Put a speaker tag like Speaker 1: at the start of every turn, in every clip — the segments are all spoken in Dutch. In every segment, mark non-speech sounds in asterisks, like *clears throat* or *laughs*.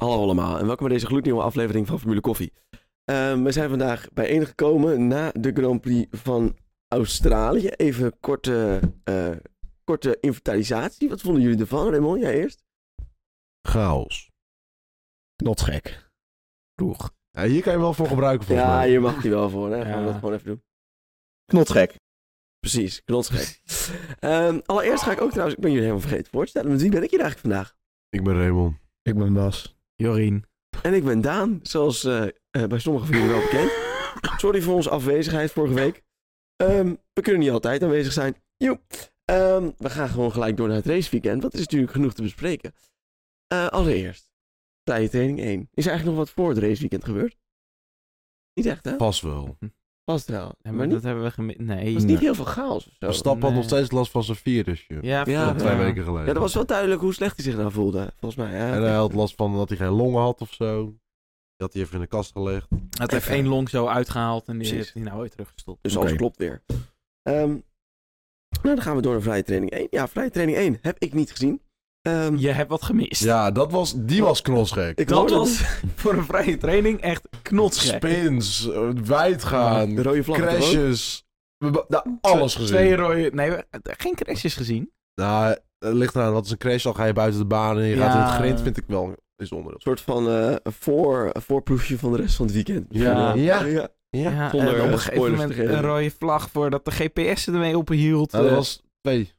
Speaker 1: Hallo allemaal en welkom bij deze gloednieuwe aflevering van Formule Koffie. Ehm, we zijn vandaag bijeengekomen na de Grand Prix van Australië. Even korte, eh, korte inventarisatie. Wat vonden jullie ervan, Raymond? Jij eerst?
Speaker 2: Chaos.
Speaker 3: Knotsgek. Ploeg.
Speaker 2: Ja, hier kan je wel voor gebruiken volgens
Speaker 1: Ja,
Speaker 2: mij.
Speaker 1: je mag die wel voor. Hè? Gaan we
Speaker 3: Ja.
Speaker 1: dat gewoon even doen.
Speaker 3: Knotsgek.
Speaker 1: Precies, knotsgek. Ehm allereerst ga ik ook trouwens, ik ben jullie helemaal vergeten voor te stellen, met wie ben ik hier eigenlijk vandaag?
Speaker 2: Ik ben Raymond.
Speaker 3: Ik ben Bas. Jorien.
Speaker 1: En ik ben Daan, zoals eh, eh, bij sommigen van jullie wel bekend. Sorry voor onze afwezigheid vorige week. Ehm, we kunnen niet altijd aanwezig zijn. Joep. Ehm, we gaan gewoon gelijk door naar het raceweekend. Dat is natuurlijk genoeg te bespreken. Eh, allereerst, vrije training 1. Is er eigenlijk nog wat voor het raceweekend gebeurd? Niet echt, hè?
Speaker 2: Vast wel.
Speaker 1: Vast wel.
Speaker 4: Ja,
Speaker 1: maar
Speaker 4: maar
Speaker 1: niet,
Speaker 4: dat hebben we gemist. Nee.
Speaker 1: er was niet heel veel chaos of zo.
Speaker 2: Verstappen had
Speaker 4: nee.
Speaker 2: nog steeds last van zijn virusje.
Speaker 4: Ja,
Speaker 1: Ja,
Speaker 4: klopt,
Speaker 2: Twee
Speaker 4: ja.
Speaker 2: weken geleden.
Speaker 1: Ja, dat was wel duidelijk hoe slecht hij zich nou voelde, volgens mij. Hè?
Speaker 2: En hij had last van dat hij geen longen had of zo. Die had hij even in de kast gelegd.
Speaker 4: Hij heeft
Speaker 1: Even.
Speaker 4: één long zo uitgehaald en die
Speaker 1: Precies.
Speaker 4: heeft hij nou weer teruggestopt.
Speaker 1: Dus
Speaker 3: Oké.
Speaker 1: alles klopt weer. Ehm, nou, dan gaan we door naar vrije training 1. Ja, vrije training 1 heb ik niet gezien. Ehm,
Speaker 4: Je hebt wat gemist.
Speaker 2: Ja, dat was, die was knosgek.
Speaker 1: ik
Speaker 4: dat
Speaker 1: hoorde-
Speaker 4: was voor een vrije training echt knotsgek.
Speaker 2: Spins, eh, wijd
Speaker 1: de
Speaker 2: gaan,
Speaker 1: rode vlag. toch ook?
Speaker 2: crashes. We hebben nou, alles
Speaker 4: Twee- Twee
Speaker 2: gezien.
Speaker 4: rode... Nee, we- eh, geen crashes gezien.
Speaker 2: Nou, het ligt eraan, wat is een crash? Dan ga je buiten de baan en je gaat in het
Speaker 4: Ja.
Speaker 2: grind, vind ik wel. Is onderdeel.
Speaker 1: Een soort van eh, een voor, een voorproefje van de rest van het weekend.
Speaker 2: Ja. Ja.
Speaker 1: ja.
Speaker 2: Ja.
Speaker 4: Ja,
Speaker 1: zonder,
Speaker 4: en op
Speaker 1: eh,
Speaker 4: een gegeven
Speaker 1: spoilers te
Speaker 4: moment
Speaker 1: geven.
Speaker 4: een rode vlag voordat de GPS ermee ophield.
Speaker 2: Nou, dat
Speaker 4: Eh,
Speaker 2: was twee.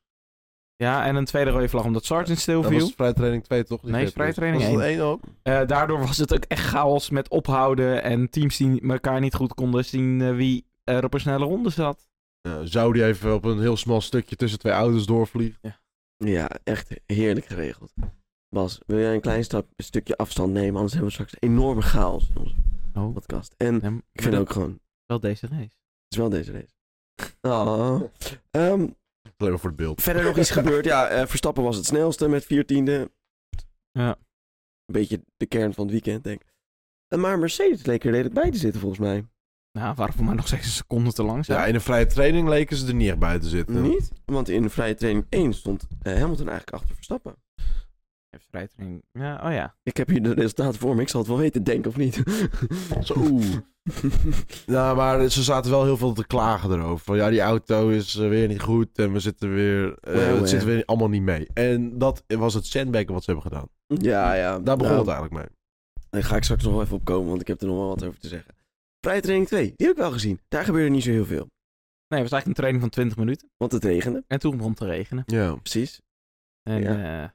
Speaker 4: Ja, en een tweede rode vlag omdat Sargent
Speaker 2: Dat
Speaker 4: stilviel.
Speaker 2: was vrij training 2, toch? Die eh,
Speaker 4: Nee,
Speaker 2: GPS.
Speaker 4: vrij training
Speaker 2: Was dat één ook?
Speaker 4: Eh, daardoor was het ook echt chaos met ophouden en teams die elkaar niet goed konden zien eh, wie er op een snelle ronde zat.
Speaker 2: Nou, zou die even op een heel smal stukje tussen twee auto's doorvliegen?
Speaker 1: Ja, echt heerlijk geregeld. Bas, wil jij een klein stap, een stukje afstand nemen? Anders hebben we straks enorme chaos in onze
Speaker 4: Oh,
Speaker 1: podcast. En ik vind ook gewoon, het
Speaker 4: wel deze race.
Speaker 1: is wel deze race. Oh. Ehm,
Speaker 2: Alleen maar voor het beeld.
Speaker 1: verder nog iets gebeurd. Ja, eh, Verstappen was het snelste met 14e.
Speaker 4: Ja.
Speaker 1: Een beetje de kern van het weekend, denk ik. Eh, Maar Mercedes leek er redelijk bij te zitten, volgens mij.
Speaker 4: Nou, waren voor mij nog steeds een seconde te lang zijn.
Speaker 2: Ja, in een vrije training leken ze er niet echt bij te zitten.
Speaker 1: Niet? Want in vrije training 1 stond eh, Hamilton eigenlijk achter Verstappen.
Speaker 4: Even strijdring. Ja, oh ja.
Speaker 1: Ik heb hier de resultaten voor me. Ik zal het wel weten, denk of niet. *laughs*
Speaker 2: Zo, oeh. nou, maar ze zaten wel heel veel te klagen erover. Van ja, die auto is eh, weer niet goed en we zitten weer, eh,
Speaker 1: Wel,
Speaker 2: het
Speaker 1: hè.
Speaker 2: zit weer allemaal niet mee. En dat was het sandbaggen wat ze hebben gedaan.
Speaker 1: ja, ja.
Speaker 2: Daar begon
Speaker 1: Nou,
Speaker 2: het eigenlijk mee.
Speaker 1: Daar ga ik straks nog wel even op komen, want ik heb er nog wel wat over te zeggen. Vrije training 2, die heb ik wel gezien. Daar gebeurde niet zo heel veel.
Speaker 4: Nee, het was eigenlijk een training van 20 minuten.
Speaker 1: Want het regende,
Speaker 4: En toen begon het te regenen.
Speaker 2: Ja.
Speaker 1: precies.
Speaker 4: En,
Speaker 1: Ja.
Speaker 4: ja.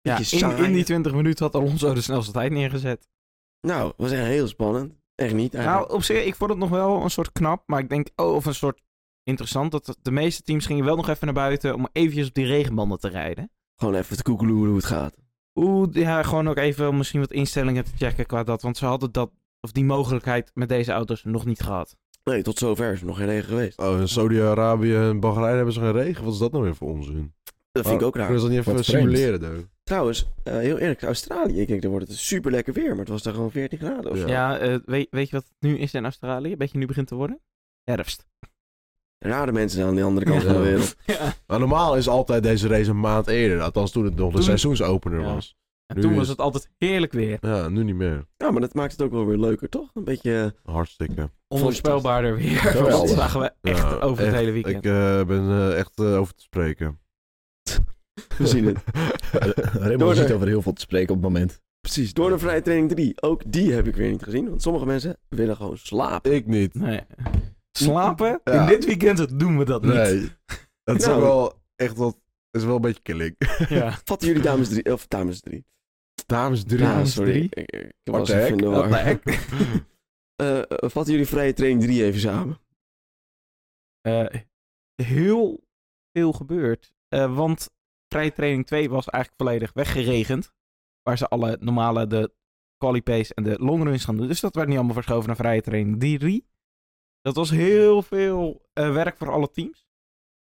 Speaker 4: ja,
Speaker 1: Beetje
Speaker 4: in,
Speaker 1: saai.
Speaker 4: in die 20 minuten had Alonso de snelste tijd neergezet.
Speaker 1: Nou, was echt heel spannend. Echt niet eigenlijk.
Speaker 4: Nou, op zich, ik vond het nog wel een soort knap. Maar ik denk, oh, of een soort interessant. Dat de meeste teams gingen wel nog even naar buiten om eventjes op die regenbanden te rijden.
Speaker 1: Gewoon even te koekeloeren hoe het gaat.
Speaker 4: Oeh, ja, gewoon ook even misschien wat instellingen te checken qua dat. Want ze hadden dat, of die mogelijkheid met deze auto's nog niet gehad.
Speaker 1: Nee, tot zover is er nog geen regen geweest.
Speaker 2: Oh, in Saudi-Arabië en Bahrein hebben ze geen regen. Wat is dat nou weer voor onzin?
Speaker 1: Dat vind ik ook raar.
Speaker 2: Kunnen ze dat niet even
Speaker 3: Wat
Speaker 2: simuleren, dude?
Speaker 1: Trouwens, eh, heel eerlijk, Australië. Ik denk, dan wordt het super lekker weer, maar het was daar gewoon 14 graden of zo.
Speaker 2: Ja.
Speaker 4: Ja, eh, weet, weet je wat het nu is in Australië? Weet je nu begint te worden? Herfst.
Speaker 1: Rare mensen aan de andere kant
Speaker 2: Ja.
Speaker 1: van de wereld.
Speaker 4: *laughs* Ja.
Speaker 2: Maar normaal is altijd deze race een maand eerder. Althans, toen het nog de
Speaker 4: Toen-
Speaker 2: seizoensopener
Speaker 4: Ja.
Speaker 2: was.
Speaker 4: En
Speaker 2: Nu
Speaker 4: toen
Speaker 2: is-
Speaker 4: was het altijd heerlijk weer.
Speaker 2: Ja, nu niet meer.
Speaker 1: Ja, maar dat maakt het ook wel weer leuker, toch? Een beetje... eh,
Speaker 2: Hartstikke.
Speaker 4: Onvoorspelbaarder weer.
Speaker 1: Geweldig.
Speaker 4: *laughs* Dat zagen we echt
Speaker 2: Ja,
Speaker 4: over het
Speaker 2: Nou, echt.
Speaker 4: hele weekend.
Speaker 2: Ik eh, ben eh, echt eh, over te
Speaker 3: *laughs*
Speaker 2: spreken.
Speaker 1: We zien
Speaker 2: *laughs*
Speaker 1: het. Door
Speaker 3: Raymond
Speaker 1: de-
Speaker 3: is niet over heel veel te spreken op het moment.
Speaker 1: Precies, door de vrije training 3. Ook die heb ik weer niet gezien, want sommige mensen willen gewoon slapen.
Speaker 2: Ik niet.
Speaker 4: Nee. Slapen?
Speaker 2: Ja.
Speaker 4: In dit weekend doen we dat niet.
Speaker 2: Nee. Dat is
Speaker 1: Nou.
Speaker 2: ook wel echt wat. Het is wel een beetje killing.
Speaker 4: Ja.
Speaker 1: Vatten jullie dames 3? Of dames 3?
Speaker 2: Dames drie.
Speaker 1: Ja,
Speaker 4: Dames
Speaker 1: sorry.
Speaker 4: drie?
Speaker 1: Ik, ik- ik
Speaker 2: What
Speaker 1: was
Speaker 2: the
Speaker 1: even
Speaker 2: heck?
Speaker 1: in de war.
Speaker 4: Wat nou, ik-
Speaker 1: Eh, eh, vatten jullie vrije training 3 even samen?
Speaker 4: Eh, heel veel gebeurd. Eh, want vrije training 2 was eigenlijk volledig weggeregend. Waar ze alle normale, de qualipace en de longruns gaan doen. Dus dat werd niet allemaal verschoven naar vrije training 3. Dat was heel veel eh, werk voor alle teams.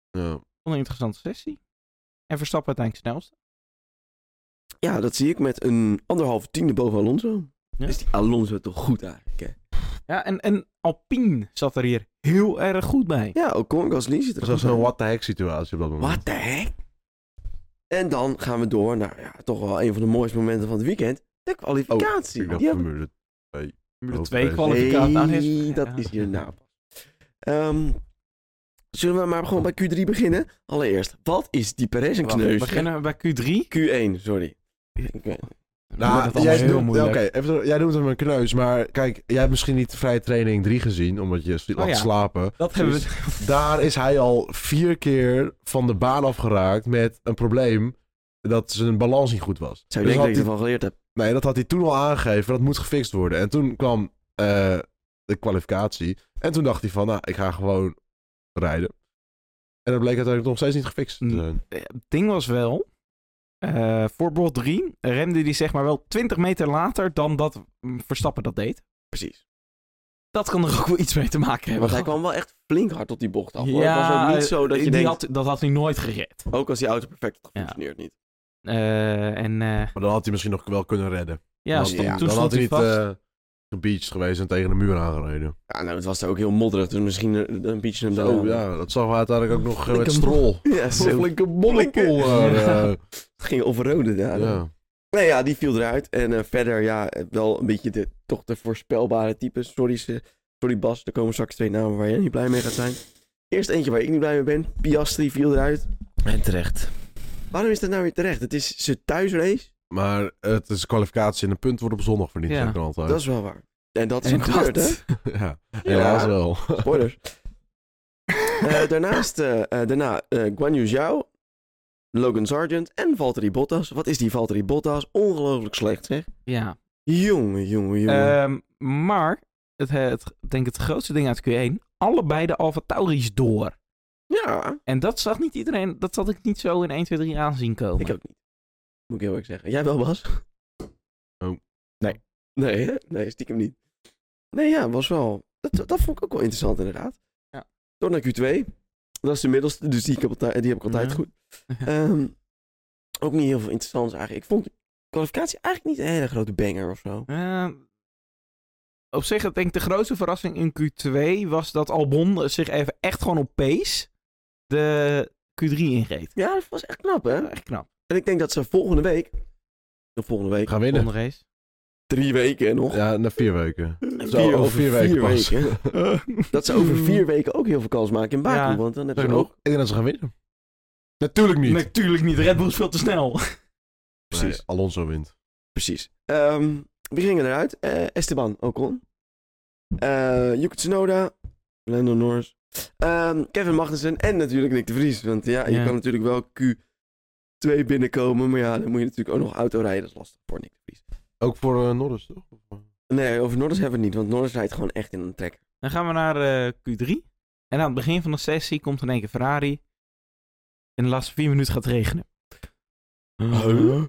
Speaker 2: Ja.
Speaker 4: Vond een interessante sessie. En Verstappen uiteindelijk snelste.
Speaker 1: Ja, dat zie ik met een anderhalve tiende boven Alonso.
Speaker 4: Ja.
Speaker 1: Is die Alonso toch goed eigenlijk? Hè?
Speaker 4: Ja, en, en Alpine zat er hier heel erg goed bij.
Speaker 1: Ja, Ocon, Gasly zit er
Speaker 2: Dat is
Speaker 1: goed
Speaker 2: een
Speaker 1: bij.
Speaker 2: what the heck situatie op dat moment.
Speaker 1: What the heck? En dan gaan we door naar ja, toch wel een van de mooiste momenten van het weekend. De kwalificatie.
Speaker 2: Oh, Ik dacht
Speaker 1: die hebben-
Speaker 2: Formule 2.
Speaker 4: Formule
Speaker 2: Hoop
Speaker 4: 2
Speaker 2: ik.
Speaker 4: kwalificatie. Nou, dit
Speaker 1: Nee, dat is hierna pas. Ehm, zullen we maar gewoon bij Q3 beginnen? Allereerst, wat is die Perez een
Speaker 4: Wacht, We
Speaker 1: kneus?
Speaker 4: beginnen bij Q3.
Speaker 1: Q1, sorry. Ik eh, weet-
Speaker 4: wordt het
Speaker 2: Nou,
Speaker 4: allemaal
Speaker 2: jij
Speaker 4: heel
Speaker 2: noemt,
Speaker 4: moeilijk.
Speaker 2: oké, even terug, jij noemt hem een kneus, maar kijk, jij hebt misschien niet vrije training 3 gezien, omdat je sli-
Speaker 4: Oh
Speaker 2: lag te
Speaker 4: ja.
Speaker 2: slapen.
Speaker 4: Dat
Speaker 1: Dus
Speaker 4: hebben we.
Speaker 1: *laughs*
Speaker 2: Daar is hij al vier keer van de baan afgeraakt met een probleem dat zijn balans niet goed was.
Speaker 1: Zou je
Speaker 2: Dus
Speaker 1: denken
Speaker 2: had
Speaker 1: dat ik
Speaker 2: hij-
Speaker 1: ervan geleerd heb?
Speaker 2: Nee, dat had hij toen al aangegeven, dat moet gefixt worden. En toen kwam eh, de kwalificatie en toen dacht hij van, nou, ik ga gewoon rijden. En dat bleek uiteindelijk nog steeds niet gefixt te
Speaker 4: Mm.
Speaker 2: zijn.
Speaker 4: Het ding was wel. eh, voor bocht 3 remde die zeg maar wel 20 meter later dan dat mm, Verstappen dat deed.
Speaker 1: Precies.
Speaker 4: Dat kan er ook wel iets mee te maken hebben.
Speaker 1: Want hij kwam wel echt flink hard op die bocht af. Hoor. het was
Speaker 4: Ja,
Speaker 1: ook niet zo dat je
Speaker 4: die
Speaker 1: denkt,
Speaker 4: had, dat had hij nooit gered.
Speaker 1: ook als die auto perfect had
Speaker 4: Ja.
Speaker 1: gefunctioneerd niet.
Speaker 4: Eh, en eh,
Speaker 2: Maar dan had hij misschien nog wel kunnen redden.
Speaker 4: ja,
Speaker 2: dan
Speaker 1: stond-
Speaker 2: had,
Speaker 4: toen
Speaker 2: dan had
Speaker 4: stond
Speaker 2: hij
Speaker 4: hij
Speaker 2: niet
Speaker 4: vast.
Speaker 2: eh gebeached geweest en tegen de muur aangereden.
Speaker 1: Ja, nou, het was er ook heel modderig, dus misschien een, een beetje hem
Speaker 2: Zo,
Speaker 1: dood.
Speaker 2: ja, dat zag we uiteindelijk ook nog eh, met
Speaker 1: Flinke
Speaker 2: strol.
Speaker 1: ja, zo.
Speaker 2: Flinke monnikel.
Speaker 4: Ja.
Speaker 2: eh,
Speaker 1: Het ging over rode
Speaker 2: Ja,
Speaker 1: daar.
Speaker 2: ja.
Speaker 1: Nee, ja, die viel eruit. En eh, verder, ja, wel een beetje de, toch de voorspelbare types. Sorry, ze- sorry Bas, er komen straks twee namen waar jij niet blij mee gaat zijn. Eerst eentje waar ik niet blij mee ben. Piastri viel eruit.
Speaker 3: En terecht.
Speaker 1: Waarom is dat nou weer terecht? Het is zijn thuisrace.
Speaker 2: Maar het is kwalificatie en een punt wordt op zondag verdiend.
Speaker 4: Ja.
Speaker 2: Ja. Kan altijd.
Speaker 1: Dat is wel waar. En dat is
Speaker 4: En
Speaker 1: hem gebeurd, hè?
Speaker 4: dat-
Speaker 2: *laughs* ja. Helaas
Speaker 1: Ja.
Speaker 2: wel.
Speaker 1: Spoilers.
Speaker 4: *laughs*
Speaker 1: Eh, daarnaast, eh, eh, daarna eh Guan Yu Zhao, Logan Sargent en Valtteri Bottas. Wat is die Valtteri Bottas? Ongelooflijk slecht, zeg.
Speaker 4: ja.
Speaker 1: Jongen, jongen, jongen.
Speaker 4: Ehm, maar, het, het, ik denk het grootste ding uit Q1, allebei de Alfa Tauri's door.
Speaker 1: ja,
Speaker 4: En dat zag niet iedereen, dat had ik niet zo in 1, 2, 3 aanzien komen.
Speaker 1: ik ook niet. Moet ik heel erg zeggen. Jij wel, Bas?
Speaker 2: Oh.
Speaker 3: Nee.
Speaker 1: Nee, hè? Nee, stiekem niet. Nee, ja, was wel... Dat, dat vond ik ook wel interessant, inderdaad.
Speaker 4: Ja.
Speaker 1: Door naar Q2. Dat is de middelste, dus die, ik heb, altijd- die heb ik altijd
Speaker 4: Ja. *laughs*
Speaker 1: goed. Ehm, ook niet heel veel interessants eigenlijk. Ik vond de kwalificatie eigenlijk niet een hele grote banger of zo.
Speaker 4: Ehm, op zich, ik denk de grootste verrassing in Q2 was dat Albon zich even echt gewoon op pace de Q3 inreed.
Speaker 1: Ja, dat was echt knap, hè?
Speaker 4: Echt knap.
Speaker 1: En ik denk dat ze volgende week... De volgende week...
Speaker 2: Gaan winnen.
Speaker 4: Volgende race.
Speaker 1: Drie weken hè, nog.
Speaker 2: Ja, na vier weken. Zo,
Speaker 1: Vier-
Speaker 2: over vier weken pas. *laughs*
Speaker 1: weken. Dat ze over vier weken ook heel veel kans maken in Baku.
Speaker 4: Ja.
Speaker 1: Want dan hebben
Speaker 2: Zijn
Speaker 1: ze ook...
Speaker 2: ook? Ik denk dat ze gaan winnen. Natuurlijk niet.
Speaker 4: Natuurlijk niet, Red Bull is veel te snel. *laughs*
Speaker 1: Precies.
Speaker 2: Nee, Alonso wint.
Speaker 1: Precies. Ehm, wie gingen eruit? Eh, Esteban Ocon. Eh Yuki Tsunoda. Lando Norris. Ehm, Kevin Magnussen. En natuurlijk Nick de Vries. Want ja, je
Speaker 4: Ja.
Speaker 1: kan natuurlijk wel Q2 binnenkomen. Maar ja, dan moet je natuurlijk ook nog auto rijden. Dat is lastig voor Nick de Vries.
Speaker 2: Ook voor eh, Norris, toch?
Speaker 1: Nee, over Norris hebben we het niet. Want Norris rijdt gewoon echt in een trekker.
Speaker 4: Dan gaan we naar eh, Q3. En aan het begin van de sessie komt in één keer Ferrari. In de laatste vier minuten gaat het regenen.
Speaker 1: Huh?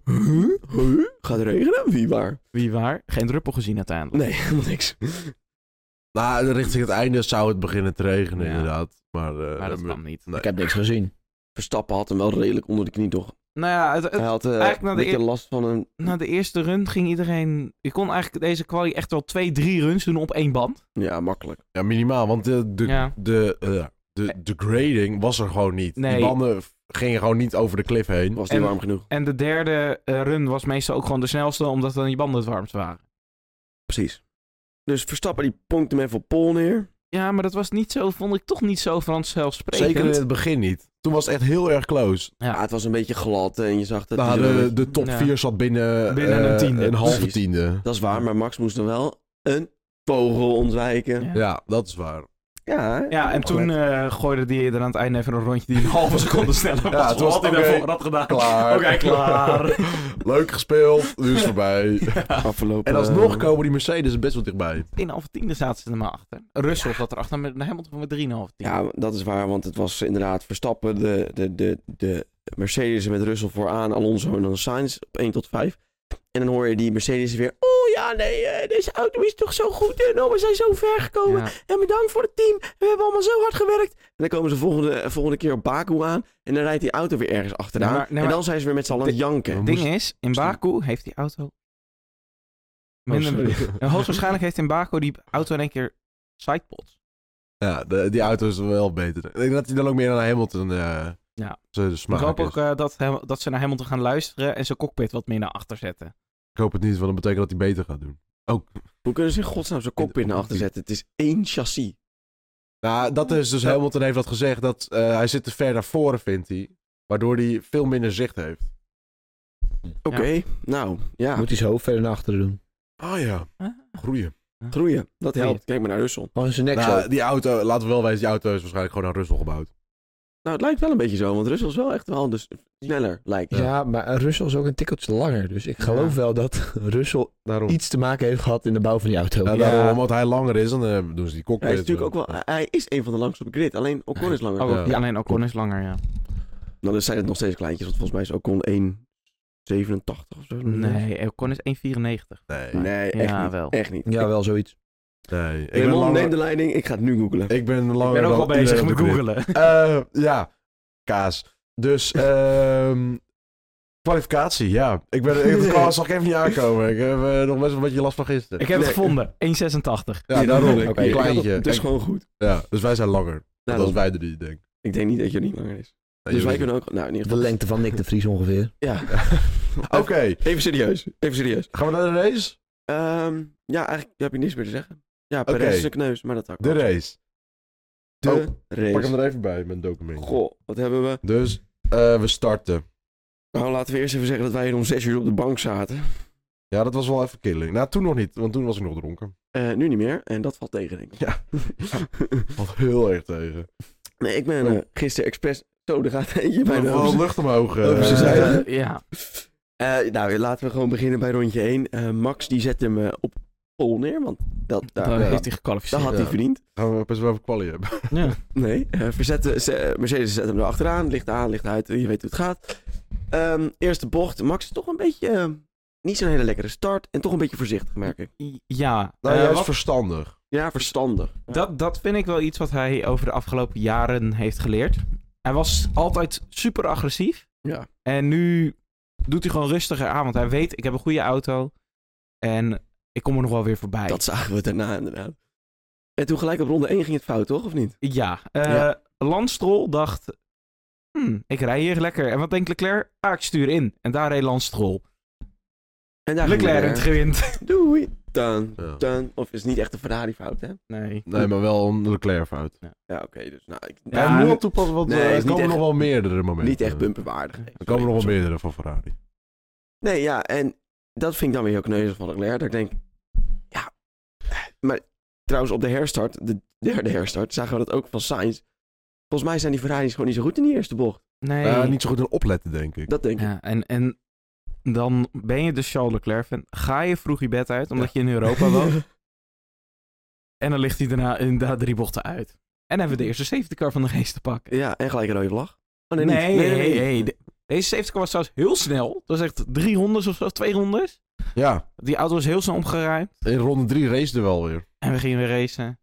Speaker 1: Huh? Huh? Gaat het regenen? Wie waar?
Speaker 4: Wie waar? Geen druppel gezien uiteindelijk.
Speaker 1: Nee, *laughs* helemaal niks.
Speaker 2: Nou, richting het einde zou het beginnen te regenen,
Speaker 4: Ja.
Speaker 2: inderdaad. Maar, eh,
Speaker 4: maar dat
Speaker 2: we-
Speaker 4: kwam niet.
Speaker 2: Nee.
Speaker 3: Ik heb niks gezien.
Speaker 1: Verstappen had hem wel redelijk onder de knie, toch?
Speaker 4: Nou ja, het- het-
Speaker 1: Hij had eh,
Speaker 4: eigenlijk na
Speaker 1: een
Speaker 4: de
Speaker 1: beetje
Speaker 4: eer-
Speaker 1: last van een...
Speaker 4: na de eerste run ging iedereen... Je kon eigenlijk deze quali echt wel twee, drie runs doen op één band.
Speaker 1: Ja, makkelijk.
Speaker 2: Ja, minimaal. Want de, de,
Speaker 4: Ja.
Speaker 2: de, eh, de, de grading was er gewoon niet.
Speaker 4: Nee.
Speaker 2: Die banden f- gingen gewoon niet over de cliff heen.
Speaker 1: Was niet
Speaker 4: En-
Speaker 1: warm genoeg.
Speaker 4: En de derde eh, run was meestal ook gewoon de snelste, omdat dan die banden het warmst waren.
Speaker 1: Precies. Dus Verstappen die ponkt hem even op Pol neer.
Speaker 4: Ja, maar dat was niet zo, vond ik toch niet zo vanzelfsprekend.
Speaker 2: Zeker in het begin niet. Toen was het echt heel erg close.
Speaker 4: Ja.
Speaker 1: Ah, het was een beetje glad en je zag dat...
Speaker 2: Nou,
Speaker 1: hij er-
Speaker 2: de, de top
Speaker 4: Ja.
Speaker 2: 4 zat binnen,
Speaker 4: Binnen
Speaker 2: eh,
Speaker 4: een tiende.
Speaker 2: Een halve
Speaker 1: Precies.
Speaker 2: tiende.
Speaker 1: Dat is waar, maar Max moest dan wel een vogel ontwijken. Ja,
Speaker 4: Ja.
Speaker 2: Ja, dat is waar.
Speaker 1: hè?
Speaker 4: Ja,
Speaker 2: Oh,
Speaker 4: en toen eh, gooide die er aan het einde even een rondje die een *laughs* halve seconde sneller was.
Speaker 2: Ja, het was-
Speaker 4: Had hij
Speaker 2: oké,
Speaker 4: daarvoor
Speaker 2: *laughs*
Speaker 4: had gedaan.
Speaker 2: Klaar.
Speaker 4: Oké, klaar.
Speaker 2: *laughs* Leuk gespeeld, nu is het voorbij.
Speaker 1: afgelopen...
Speaker 2: En alsnog
Speaker 1: eh,
Speaker 2: komen die Mercedes best wel dichtbij.
Speaker 4: 1,5 tiende zaten ze er maar achter. Russell zat erachter met Hamilton met 3,5 tiende.
Speaker 1: Ja, dat is waar, want het was inderdaad Verstappen, de, de, de, de Mercedes met Russell vooraan, Alonso en dan Sainz op 1 tot 5. En dan hoor je die Mercedes weer, oh ja, nee, eh, deze auto is toch zo goed en oh, we zijn zo ver gekomen.
Speaker 4: Ja.
Speaker 1: En bedankt voor het team, we hebben allemaal zo hard gewerkt. En dan komen ze volgende, volgende keer op Baku aan en dan rijdt die auto weer ergens achteraan.
Speaker 4: Nee, maar- nee,
Speaker 1: en
Speaker 4: maar-
Speaker 1: dan zijn ze weer met z'n allen aan het janken.
Speaker 4: Het ding is, in Baku heeft die
Speaker 2: Oh,
Speaker 4: auto... Minder, *laughs* En hoogstwaarschijnlijk heeft in Baku die auto in één keer sidepods.
Speaker 2: Ja, de- die auto is wel beter. Ik denk dat hij dan ook meer naar Hamilton eh
Speaker 4: Ja.
Speaker 2: zijn smaak
Speaker 4: Ik hoop
Speaker 2: is.
Speaker 4: ook eh, dat, hem- dat ze naar Hamilton gaan luisteren en zijn cockpit wat meer naar achter zetten.
Speaker 2: Ik hoop het niet, want dat betekent dat hij beter gaat doen. Ook.
Speaker 1: Hoe kunnen ze in godsnaam zo'n cockpit naar achter zetten? Het is één chassis.
Speaker 2: Nou, dat is dus Hamilton heeft dat gezegd. Dat eh, hij zit te ver naar voren, vindt hij. Waardoor hij veel minder zicht heeft.
Speaker 1: Oké, nou, ja.
Speaker 3: Moet hij zijn hoofd verder naar achteren doen.
Speaker 2: Ah ja, groeien.
Speaker 1: Groeien, dat
Speaker 4: Groeien.
Speaker 1: helpt. Kijk maar naar Russell.
Speaker 3: Gewoon in zijn nek
Speaker 2: Nou,
Speaker 3: zo.
Speaker 2: die auto, laten we wel weten, die auto is waarschijnlijk gewoon aan Russell gebouwd.
Speaker 1: Nou, het lijkt wel een beetje zo, want Russell is wel echt wel dus sneller, lijkt
Speaker 3: Ja.
Speaker 1: het.
Speaker 3: maar Russell is ook een tikkeltje langer. Dus ik geloof
Speaker 1: Ja.
Speaker 3: wel dat Russell
Speaker 2: Daarom.
Speaker 3: iets te maken heeft gehad in de bouw van die auto.
Speaker 2: Ja,
Speaker 4: Ja.
Speaker 2: Nou, daarom, omdat hij langer is, dan eh, doen ze die cockpit.
Speaker 1: Hij is natuurlijk ook
Speaker 2: eh,
Speaker 1: wel, hij is een van de langste op de grid, alleen Ocon is langer.
Speaker 4: Oh,
Speaker 2: Ja.
Speaker 4: ja. alleen Ocon is langer, ja.
Speaker 1: Nou, dan zijn het nog steeds kleintjes, want volgens mij is Ocon 1,87 of zo.
Speaker 4: Nee, Ocon is 1,94.
Speaker 2: Nee, nee.
Speaker 1: Nee, echt
Speaker 4: Ja,
Speaker 1: niet.
Speaker 4: wel.
Speaker 1: Echt niet.
Speaker 3: Ja, wel zoiets.
Speaker 2: Ik,
Speaker 1: Ik
Speaker 2: ben
Speaker 1: man,
Speaker 2: langer,
Speaker 1: neem de leiding, ik ga het nu googlen.
Speaker 2: ik ben
Speaker 4: Ik
Speaker 2: langer
Speaker 4: ben ook
Speaker 2: dan
Speaker 4: al bezig
Speaker 2: iedereen
Speaker 4: met
Speaker 2: op de grid.
Speaker 4: googelen.
Speaker 2: Eh, ja, kaas. Dus, *laughs* ehm kwalificatie, ja. Ik ben ik, dat kwam- zag ik even niet aankomen. Ik heb eh, nog best wel een beetje last van gisteren.
Speaker 4: Ik heb het
Speaker 1: Nee.
Speaker 4: gevonden. 1,86.
Speaker 2: ja, daarom.
Speaker 3: Oké,
Speaker 2: een
Speaker 1: Ik had het-
Speaker 2: kleintje.
Speaker 1: Het is
Speaker 2: Ik-
Speaker 1: gewoon goed.
Speaker 2: ja, dus wij zijn langer.
Speaker 1: Nou,
Speaker 2: dat is
Speaker 1: dan-
Speaker 2: wij drie, denk ik.
Speaker 1: Ik denk niet dat je niet langer is.
Speaker 2: Nee,
Speaker 1: Dus wij
Speaker 2: jullie-
Speaker 1: kunnen ook... Nou, in ieder
Speaker 3: De
Speaker 1: geval...
Speaker 3: lengte van Nick de Vries ongeveer.
Speaker 1: Ja.
Speaker 2: Oké,
Speaker 1: Even serieus. Even serieus.
Speaker 2: gaan we naar de race?
Speaker 1: Ehm, ja, eigenlijk heb je niks meer te zeggen. Ja, Perez
Speaker 2: Oké.
Speaker 1: is een kneus, maar dat ook.
Speaker 2: De race.
Speaker 1: De
Speaker 2: Oh, Pak hem
Speaker 1: race.
Speaker 2: er even bij, mijn document.
Speaker 1: Goh, wat hebben we?
Speaker 2: Dus, eh, we starten.
Speaker 1: Nou, laten we eerst even zeggen dat wij hier om zes uur op de bank zaten.
Speaker 2: Ja, dat was wel even killing. Nou, toen nog niet, want toen was ik nog dronken.
Speaker 1: Eh, nu niet meer. En dat valt tegen, denk ik.
Speaker 2: Ja. Valt heel erg tegen.
Speaker 1: *laughs* nee, ik ben eh, gisteren expres... Zo, er gaat *laughs* eentje bij de
Speaker 2: Wel
Speaker 1: hoofd.
Speaker 2: lucht omhoog. eh.
Speaker 1: Over
Speaker 4: dus-
Speaker 1: zijn
Speaker 2: Eh,
Speaker 1: zijde.
Speaker 4: Ja.
Speaker 1: Eh, nou, laten we gewoon beginnen bij rondje 1. Max, die zet hem eh, op pol neer, want dat, daar,
Speaker 4: Dan
Speaker 2: ja.
Speaker 4: heeft hij
Speaker 1: dat
Speaker 4: gekwalificeerd.
Speaker 1: had
Speaker 2: Ja.
Speaker 1: hij verdiend.
Speaker 2: Gaan we best wel even kwalie hebben.
Speaker 4: Ja.
Speaker 1: Nee, eh, verzette, ze- Mercedes zet hem erachteraan. Ligt aan, ligt uit, je weet hoe het gaat. Ehm, eerste bocht, Max is toch een beetje... eh, niet zo'n hele lekkere start en toch een beetje voorzichtig, merk ik.
Speaker 4: Ja.
Speaker 2: Nou,
Speaker 4: eh,
Speaker 2: juist
Speaker 4: wat-
Speaker 2: verstandig.
Speaker 1: Ja, verstandig.
Speaker 4: dat, dat vind ik wel iets wat hij over de afgelopen jaren heeft geleerd. Hij was altijd super agressief.
Speaker 1: Ja.
Speaker 4: En nu doet hij gewoon rustiger aan. Want hij weet, ik heb een goede auto. En ik kom er nog wel weer voorbij.
Speaker 1: Dat zagen we daarna inderdaad. En toen gelijk op ronde 1 ging het fout, toch? Of niet?
Speaker 4: Ja. eh
Speaker 1: Ja.
Speaker 4: Lance Stroll dacht... "Hmm, ik rij hier lekker. En wat denkt Leclerc? Ah, ik stuur in. En daar reed Lance Stroll.
Speaker 1: En daar ging
Speaker 4: Leclerc
Speaker 1: hij
Speaker 4: heeft
Speaker 1: weer.
Speaker 4: *laughs* gewint.
Speaker 1: Doei. Dan,
Speaker 2: Ja.
Speaker 1: dan. Of is niet echt een Ferrari fout, hè?
Speaker 4: Nee.
Speaker 2: Nee, maar wel een Leclerc-fout.
Speaker 1: Ja, oké. dus nou, ik,
Speaker 4: Ja,
Speaker 2: Ja,
Speaker 4: en-
Speaker 2: moet wel toepassen, want
Speaker 1: Nee,
Speaker 2: eh,
Speaker 1: is
Speaker 2: er
Speaker 1: niet
Speaker 2: komen
Speaker 1: echt-
Speaker 2: nog wel meerdere momenten.
Speaker 1: niet echt bumperwaardig.
Speaker 2: Er komen nog wel meerdere van Ferrari.
Speaker 1: Nee, ja, en dat vind ik dan weer heel kneuzen van Leclerc. Dat ik denk, ja. Maar trouwens, op de herstart, de derde herstart, zagen we dat ook van Sainz. Volgens mij zijn die Ferraris gewoon niet zo goed in die eerste bocht.
Speaker 4: Nee.
Speaker 2: Ja, Eh, niet zo goed in opletten, denk ik.
Speaker 1: Dat denk ik.
Speaker 4: Ja, en, en dan ben je dus Charles Leclerc fan. Ga je vroeg je bed uit, omdat je in Europa woont. *laughs* en dan ligt hij daarna inderdaad drie bochten uit. En hebben we de eerste safety car van de geest te
Speaker 1: *laughs*
Speaker 4: pakken.
Speaker 1: Ja, en gelijk een rode vlag. Oh,
Speaker 4: nee,
Speaker 1: niet.
Speaker 4: nee, nee, de- deze safety car was trouwens heel snel. Dat was echt drie rondes of zo, twee rondes.
Speaker 2: Ja,
Speaker 4: Die auto was heel snel omgeruimd.
Speaker 2: in ronde 3 race er wel weer.
Speaker 4: En we gingen weer racen.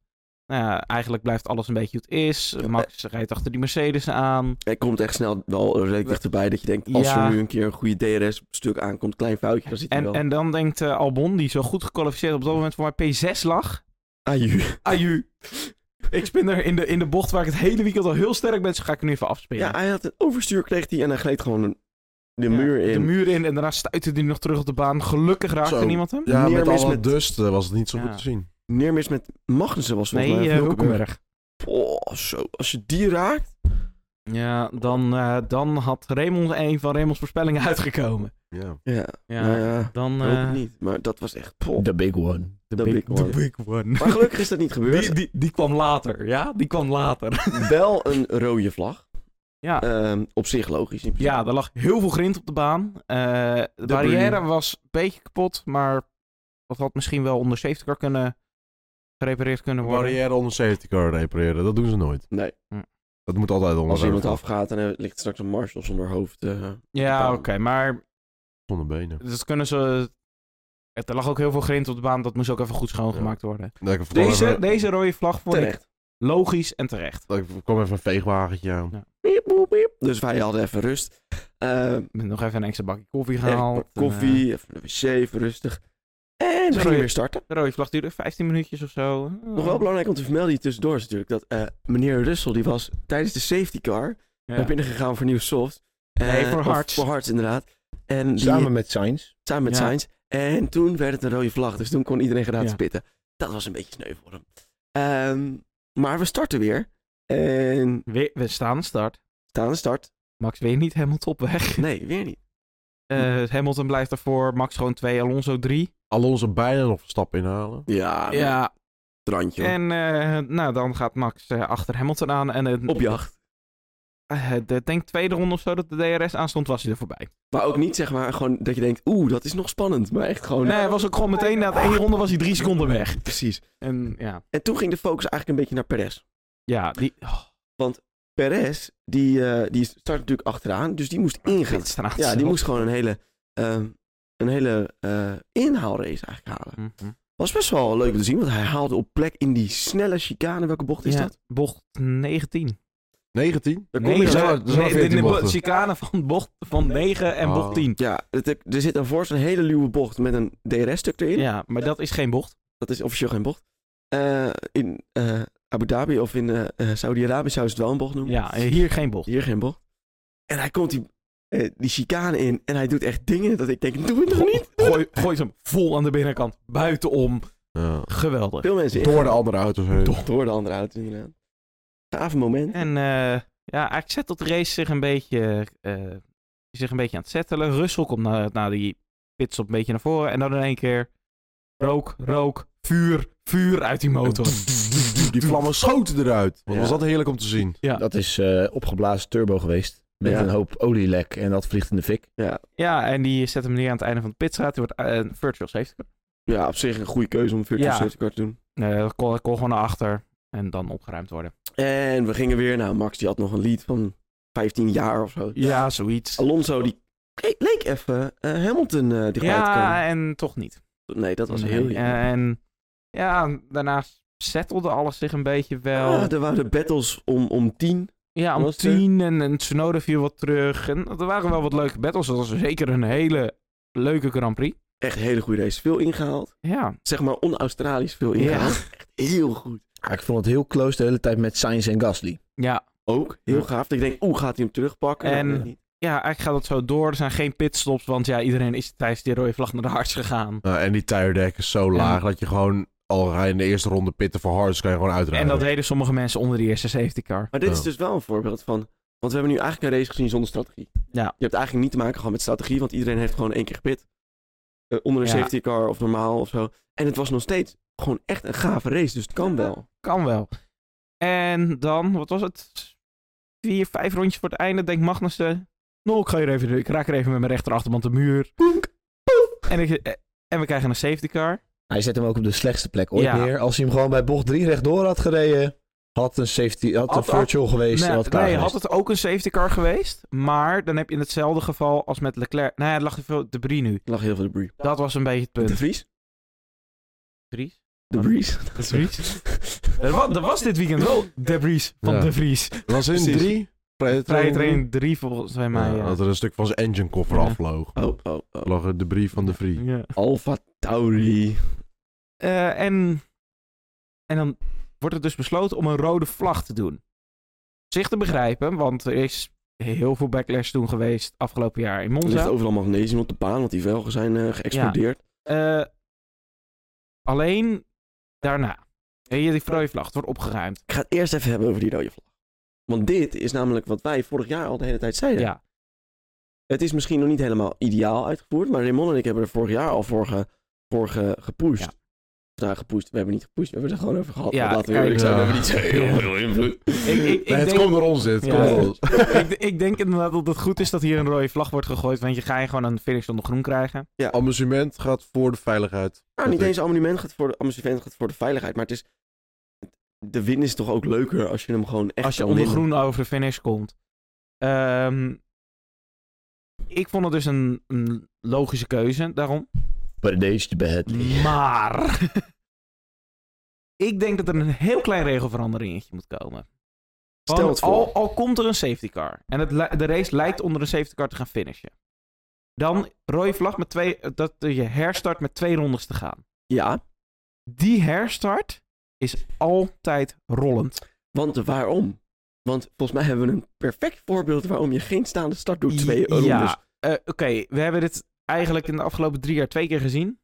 Speaker 4: Nou ja, eigenlijk blijft alles een beetje hoe het is. Max rijdt achter die Mercedes aan.
Speaker 1: Hij komt echt snel wel redelijk dichterbij dat je denkt, als
Speaker 4: Ja.
Speaker 1: er nu een keer een goede DRS-stuk aankomt, klein foutje, dan zit hij
Speaker 4: En,
Speaker 1: wel.
Speaker 4: en dan denkt eh, Albon, die zo goed gekwalificeerd op dat moment voor mij P6 lag.
Speaker 1: Aju.
Speaker 4: Aju. Ik spin er in de, in de bocht waar ik het hele weekend al heel sterk ben, dus ga ik er nu even afspelen.
Speaker 1: Ja, hij had een overstuur, kreeg hij en hij gleed gewoon een- de
Speaker 4: Ja,
Speaker 1: muur in.
Speaker 4: De muur in en daarna stuitte hij nog terug op de baan. Gelukkig raakte
Speaker 2: Zo.
Speaker 4: niemand hem.
Speaker 2: Ja,
Speaker 1: Meer
Speaker 2: met
Speaker 1: mis
Speaker 2: alle
Speaker 1: met-
Speaker 2: dust eh, was het niet zo
Speaker 4: Ja.
Speaker 2: goed te zien.
Speaker 1: Neermis met Magnussen was volgens
Speaker 4: Nee,
Speaker 1: mij.
Speaker 4: eh,
Speaker 1: of Hulkenberg.
Speaker 4: Hulkenberg.
Speaker 1: Oh, zo. Als je die raakt.
Speaker 4: Ja, dan, eh, dan had Raymond een van Raymonds voorspellingen *laughs* uitgekomen.
Speaker 2: Ja.
Speaker 1: Ja,
Speaker 4: Ja,
Speaker 1: nou ja.
Speaker 4: dan...
Speaker 1: Ik hoop het
Speaker 4: eh,
Speaker 1: niet, maar dat was echt... poh.
Speaker 3: The big one.
Speaker 1: de
Speaker 4: de
Speaker 1: big one.
Speaker 4: the big one.
Speaker 1: Maar gelukkig is dat niet gebeurd.
Speaker 4: Die, die, die kwam later, ja? Die kwam later. *laughs*
Speaker 1: Wel een rode vlag.
Speaker 4: Ja.
Speaker 1: Ehm, op zich logisch. In principe.
Speaker 4: Ja, er lag heel veel grind op de baan. Eh, de barrière was een beetje kapot, maar dat had misschien wel onder 70 car kunnen gerepareerd kunnen worden.
Speaker 2: Barrière onder safety car repareren, dat doen ze nooit.
Speaker 1: Nee,
Speaker 2: Dat moet altijd onder
Speaker 1: als
Speaker 2: de
Speaker 1: iemand
Speaker 2: vlag.
Speaker 1: afgaat en er ligt straks een Marshall zonder hoofd. eh,
Speaker 4: Ja,
Speaker 1: baan.
Speaker 4: oké, maar
Speaker 2: Zonder benen.
Speaker 4: dat kunnen ze. het- Er lag ook heel veel grind op de baan, dat moest ook even goed schoongemaakt worden.
Speaker 2: Nee, ik kwam
Speaker 4: Deze,
Speaker 2: even-
Speaker 4: deze rode vlag vond ik
Speaker 1: terecht.
Speaker 4: logisch en terecht.
Speaker 2: Ik kwam even een veegwagentje aan.
Speaker 1: Piep, boep, piep. Dus wij hadden even rust. Ehm,
Speaker 4: Ik ben nog even een extra bakje koffie
Speaker 1: echt
Speaker 4: gehaald. eh.
Speaker 1: wat koffie, even de wc, even rustig. En we
Speaker 4: Sorry.
Speaker 1: gingen weer starten.
Speaker 4: En, eh, de rode vlag duurde 15 minuutjes of zo.
Speaker 1: Nog wel belangrijk om te vermelden hier tussendoor is natuurlijk dat eh, meneer Russell, die was tijdens de safety car
Speaker 4: Ja.
Speaker 1: naar binnen gegaan voor nieuw soft.
Speaker 4: Nee,
Speaker 1: Eh,
Speaker 4: voor
Speaker 1: of
Speaker 4: Hearts.
Speaker 1: Voor Hearts, inderdaad. En die,
Speaker 3: Samen met Sainz.
Speaker 1: Samen met
Speaker 4: Ja.
Speaker 1: Sainz. En toen werd het een rode vlag, dus toen kon iedereen gratis
Speaker 4: Ja.
Speaker 1: pitten. Dat was een beetje sneu voor hem. Ehm, maar we starten weer. En
Speaker 4: Weer- we staan aan de start.
Speaker 1: staan aan de start.
Speaker 4: Max weer niet Hamilton op weg.
Speaker 1: Nee, weer niet.
Speaker 4: Eh, Hamilton blijft ervoor. Max gewoon 2, Alonso 3.
Speaker 2: Alonso bijna nog een stap inhalen.
Speaker 1: Ja, ja.
Speaker 4: Ja,
Speaker 1: het randje. hoor.
Speaker 4: en eh, nou, dan gaat Max eh, achter Hamilton aan. En, eh,
Speaker 1: Op jacht.
Speaker 4: eh, de- denk tweede ronde of zo dat de DRS aanstond, was hij er voorbij.
Speaker 1: Maar ook niet zeg maar gewoon dat je denkt, oeh, dat is nog spannend. Maar echt gewoon,
Speaker 4: Nee, hij Eh, was ook gewoon meteen na de één ronde was hij drie seconden weg.
Speaker 1: *laughs* precies.
Speaker 4: En ja,
Speaker 1: En toen ging de focus eigenlijk een beetje naar Perez.
Speaker 4: ja die oh,
Speaker 1: Perez, die, eh, die start natuurlijk achteraan, dus die moest ingaan.
Speaker 4: dit straat.
Speaker 1: Ja, die moest gewoon een hele, ehm, een hele eh, inhaalrace eigenlijk halen.
Speaker 4: Mhm.
Speaker 1: Was best wel leuk om te zien, want hij haalde op plek in die snelle chicane. Welke bocht is
Speaker 4: Ja,
Speaker 1: dat?
Speaker 4: Bocht 19.
Speaker 2: 19?
Speaker 1: Daar
Speaker 4: Nee,
Speaker 1: kom je zo.
Speaker 2: zijn maar- er zijn maar
Speaker 4: nee, de- de
Speaker 2: 14 bochten.
Speaker 4: chicane van bocht van 9 en
Speaker 2: Oh.
Speaker 4: bocht 10.
Speaker 1: Ja, het- er zit dan voor zo'n hele luwe bocht met een DRS-stuk erin.
Speaker 4: Ja, maar dat is geen bocht.
Speaker 1: Dat is officieel geen bocht. Eh, in eh, Abu Dhabi of in eh, eh, Saudi-Arabië zou ze het wel een bocht noemen.
Speaker 4: Ja, hier geen bocht.
Speaker 1: Hier geen bocht. En hij komt die, eh, die chicane in en hij doet echt dingen dat ik denk, doe het nog niet?
Speaker 4: Gooi, gooi ze hem vol aan de binnenkant, buitenom.
Speaker 2: Ja.
Speaker 4: Geweldig.
Speaker 1: Veel mensen in.
Speaker 2: Door de andere auto's heen.
Speaker 1: Door, door de andere auto inderdaad. Gaaf moment.
Speaker 4: En eh, ja, eigenlijk zet tot de race zich een beetje, eh, zich een beetje aan het settelen. Russell komt na, na die pits op een beetje naar voren. En dan in één keer rook, rook, vuur, vuur uit die
Speaker 2: *laughs*
Speaker 4: motor.
Speaker 2: Die vlammen schoten eruit. Wat
Speaker 1: Ja.
Speaker 2: was dat heerlijk om te zien.
Speaker 4: Ja.
Speaker 3: Dat is eh, opgeblazen turbo geweest. Met
Speaker 1: Ja.
Speaker 3: een hoop olielek en dat vliegt in de fik.
Speaker 4: Ja, en die zet hem neer aan het einde van de pitstraat. Die wordt eh, een virtual safety car.
Speaker 1: Ja, op zich een goede keuze om virtual
Speaker 4: Ja.
Speaker 1: safety car te doen.
Speaker 4: Eh, dat kon, dat kon gewoon naar achter en dan opgeruimd worden.
Speaker 1: En we gingen weer. Nou, Max die had nog een lead van 15 jaar of zo.
Speaker 4: Ja, zoiets.
Speaker 1: Alonso die le- leek even eh, Hamilton eh die kwijt
Speaker 4: Ja, en toch niet.
Speaker 1: kwam. Nee, dat was
Speaker 4: Nee, eh,
Speaker 1: heel jammer.
Speaker 4: En ja, daarna settelde alles zich een beetje
Speaker 1: *laughs*
Speaker 4: wel.
Speaker 1: Ah, er waren de battles om, om tien.
Speaker 4: Ja, om
Speaker 1: Was er-
Speaker 4: tien en, en Tsunoda viel wat terug. En er waren wel wat leuke battles. Dat was zeker een hele leuke Grand Prix.
Speaker 1: Echt een hele goede race. Veel ingehaald.
Speaker 4: Ja,
Speaker 1: Zeg maar on-Australisch veel
Speaker 4: Ja.
Speaker 1: ingehaald. Echt heel goed.
Speaker 3: Ah, ik vond het heel close de hele tijd met Sainz en Gasly.
Speaker 4: ja.
Speaker 1: Ook heel
Speaker 4: Ja.
Speaker 1: gaaf. Ik denk, oeh, gaat hij hem terugpakken? Nou,
Speaker 4: En-
Speaker 1: weet ik niet.
Speaker 4: ja, eigenlijk gaat dat zo door. Er zijn geen pitstops, want ja, iedereen is tijdens die rode vlag naar de harts gegaan.
Speaker 2: Nou, en die tire deck is zo laag dat je gewoon, al ga je in de eerste ronde pitten voor hards, kan je gewoon
Speaker 4: En
Speaker 2: uitrijden.
Speaker 4: dat deden sommige mensen onder de eerste safety car.
Speaker 1: Maar dit is
Speaker 2: Ja.
Speaker 1: dus wel een voorbeeld van... Want we hebben nu eigenlijk een race gezien zonder strategie.
Speaker 4: Ja.
Speaker 1: Je hebt eigenlijk niet te maken gehad met strategie, want iedereen heeft gewoon één keer gepit. Eh, onder een
Speaker 4: Ja.
Speaker 1: safety car of normaal of zo. En het was nog steeds gewoon echt een gave race, dus het kan wel.
Speaker 4: Kan wel. En dan, wat was het? Vier, vijf rondjes voor het einde, denkt Magnussen. Nou, ik, ga hier even, ik raak er even met mijn rechterachterband de muur. En, ik, eh, en we krijgen een safety car.
Speaker 3: Hij zet hem ook op de slechtste plek ooit
Speaker 4: Ja.
Speaker 3: neer. Als hij hem gewoon bij bocht 3 rechtdoor had gereden, had een safety, had,
Speaker 4: Had-
Speaker 3: een virtual geweest
Speaker 4: Nee,
Speaker 3: en had klaar
Speaker 4: nee,
Speaker 3: geweest.
Speaker 4: had het ook een safety car geweest. Maar dan heb je in hetzelfde geval als met Leclerc. Nou ja, er lag er veel debris nu.
Speaker 1: Er lag heel veel debris.
Speaker 4: Dat was een beetje het
Speaker 1: De
Speaker 4: punt.
Speaker 1: Vries?
Speaker 4: Debris?
Speaker 1: De Vries?
Speaker 4: Debris?
Speaker 1: *laughs*
Speaker 4: er, was, er was dit weekend wel debris van
Speaker 2: Ja.
Speaker 4: de Vries.
Speaker 2: was in
Speaker 1: Precies.
Speaker 2: drie, vrije
Speaker 4: Vrije
Speaker 2: training.
Speaker 4: train 3 volgens mij.
Speaker 2: Ja,
Speaker 4: Ja,
Speaker 2: Dat er een stuk van zijn engine koffer
Speaker 4: Ja.
Speaker 2: afvloog.
Speaker 1: Oh, oh, oh.
Speaker 2: Er lag een debris van de Vrie.
Speaker 4: Ja.
Speaker 1: Alfa Tauri.
Speaker 4: Eh, en, en dan wordt het dus besloten om een rode vlag te doen. Zich te begrijpen, want er is heel veel backlash toen geweest afgelopen jaar in
Speaker 1: Er ligt
Speaker 4: Monza.
Speaker 1: overal magnesium op de baan, want die velgen zijn eh, geëxplodeerd.
Speaker 4: Eh, alleen daarna. Weet je, die rode vlag het wordt opgeruimd.
Speaker 1: Ik ga het eerst even hebben over die rode vlag. Want dit is namelijk wat wij vorig jaar al de hele tijd zeiden.
Speaker 4: Ja.
Speaker 1: Het is misschien nog niet helemaal ideaal uitgevoerd, maar Raymond en ik hebben er vorig jaar al voor, ge, voor ge- gepusht.
Speaker 4: Ja.
Speaker 1: Nou, gepusht. We hebben niet gepusht, we hebben er gewoon over gehad.
Speaker 4: Ja,
Speaker 1: Want laten we
Speaker 4: kijk, eh,
Speaker 1: eerlijk zijn, we
Speaker 2: ja.
Speaker 1: hebben niet zo
Speaker 4: *laughs*
Speaker 1: heel veel invloed.
Speaker 4: Ik, ik, ik
Speaker 2: Nee, het
Speaker 4: denk,
Speaker 2: komt door ons dit. het
Speaker 4: Ja.
Speaker 2: komt door ons.
Speaker 4: ik, ik denk inderdaad dat het goed is dat hier een rode vlag wordt gegooid. Want je ga je gewoon een finish onder groen krijgen.
Speaker 2: Amusement gaat voor de veiligheid.
Speaker 1: Nou, niet eens amendement gaat voor de, amusement gaat voor de veiligheid, maar het is... De win is toch ook leuker als je hem gewoon echt
Speaker 4: als je
Speaker 1: kan
Speaker 4: onder
Speaker 1: winnen.
Speaker 4: groen over de finish komt. Ehm, ik vond het dus een, een logische keuze daarom.
Speaker 3: But it aged badly.
Speaker 4: Maar. *laughs* ik denk dat er een heel klein regelveranderingetje moet komen. Van,
Speaker 1: Stel het voor.
Speaker 4: Al, al komt er een safety car. En het, li- de race lijkt onder een safety car te gaan finishen. Dan rode vlag met twee. Dat je herstart met twee rondes te gaan.
Speaker 1: Ja,
Speaker 4: Die herstart is altijd rollend.
Speaker 1: want waarom? Want volgens mij hebben we een perfect voorbeeld waarom je geen staande start doet. Oh, Twee
Speaker 4: ja,
Speaker 1: rondes.
Speaker 4: eh, oké. we hebben dit eigenlijk in de afgelopen drie jaar twee keer gezien.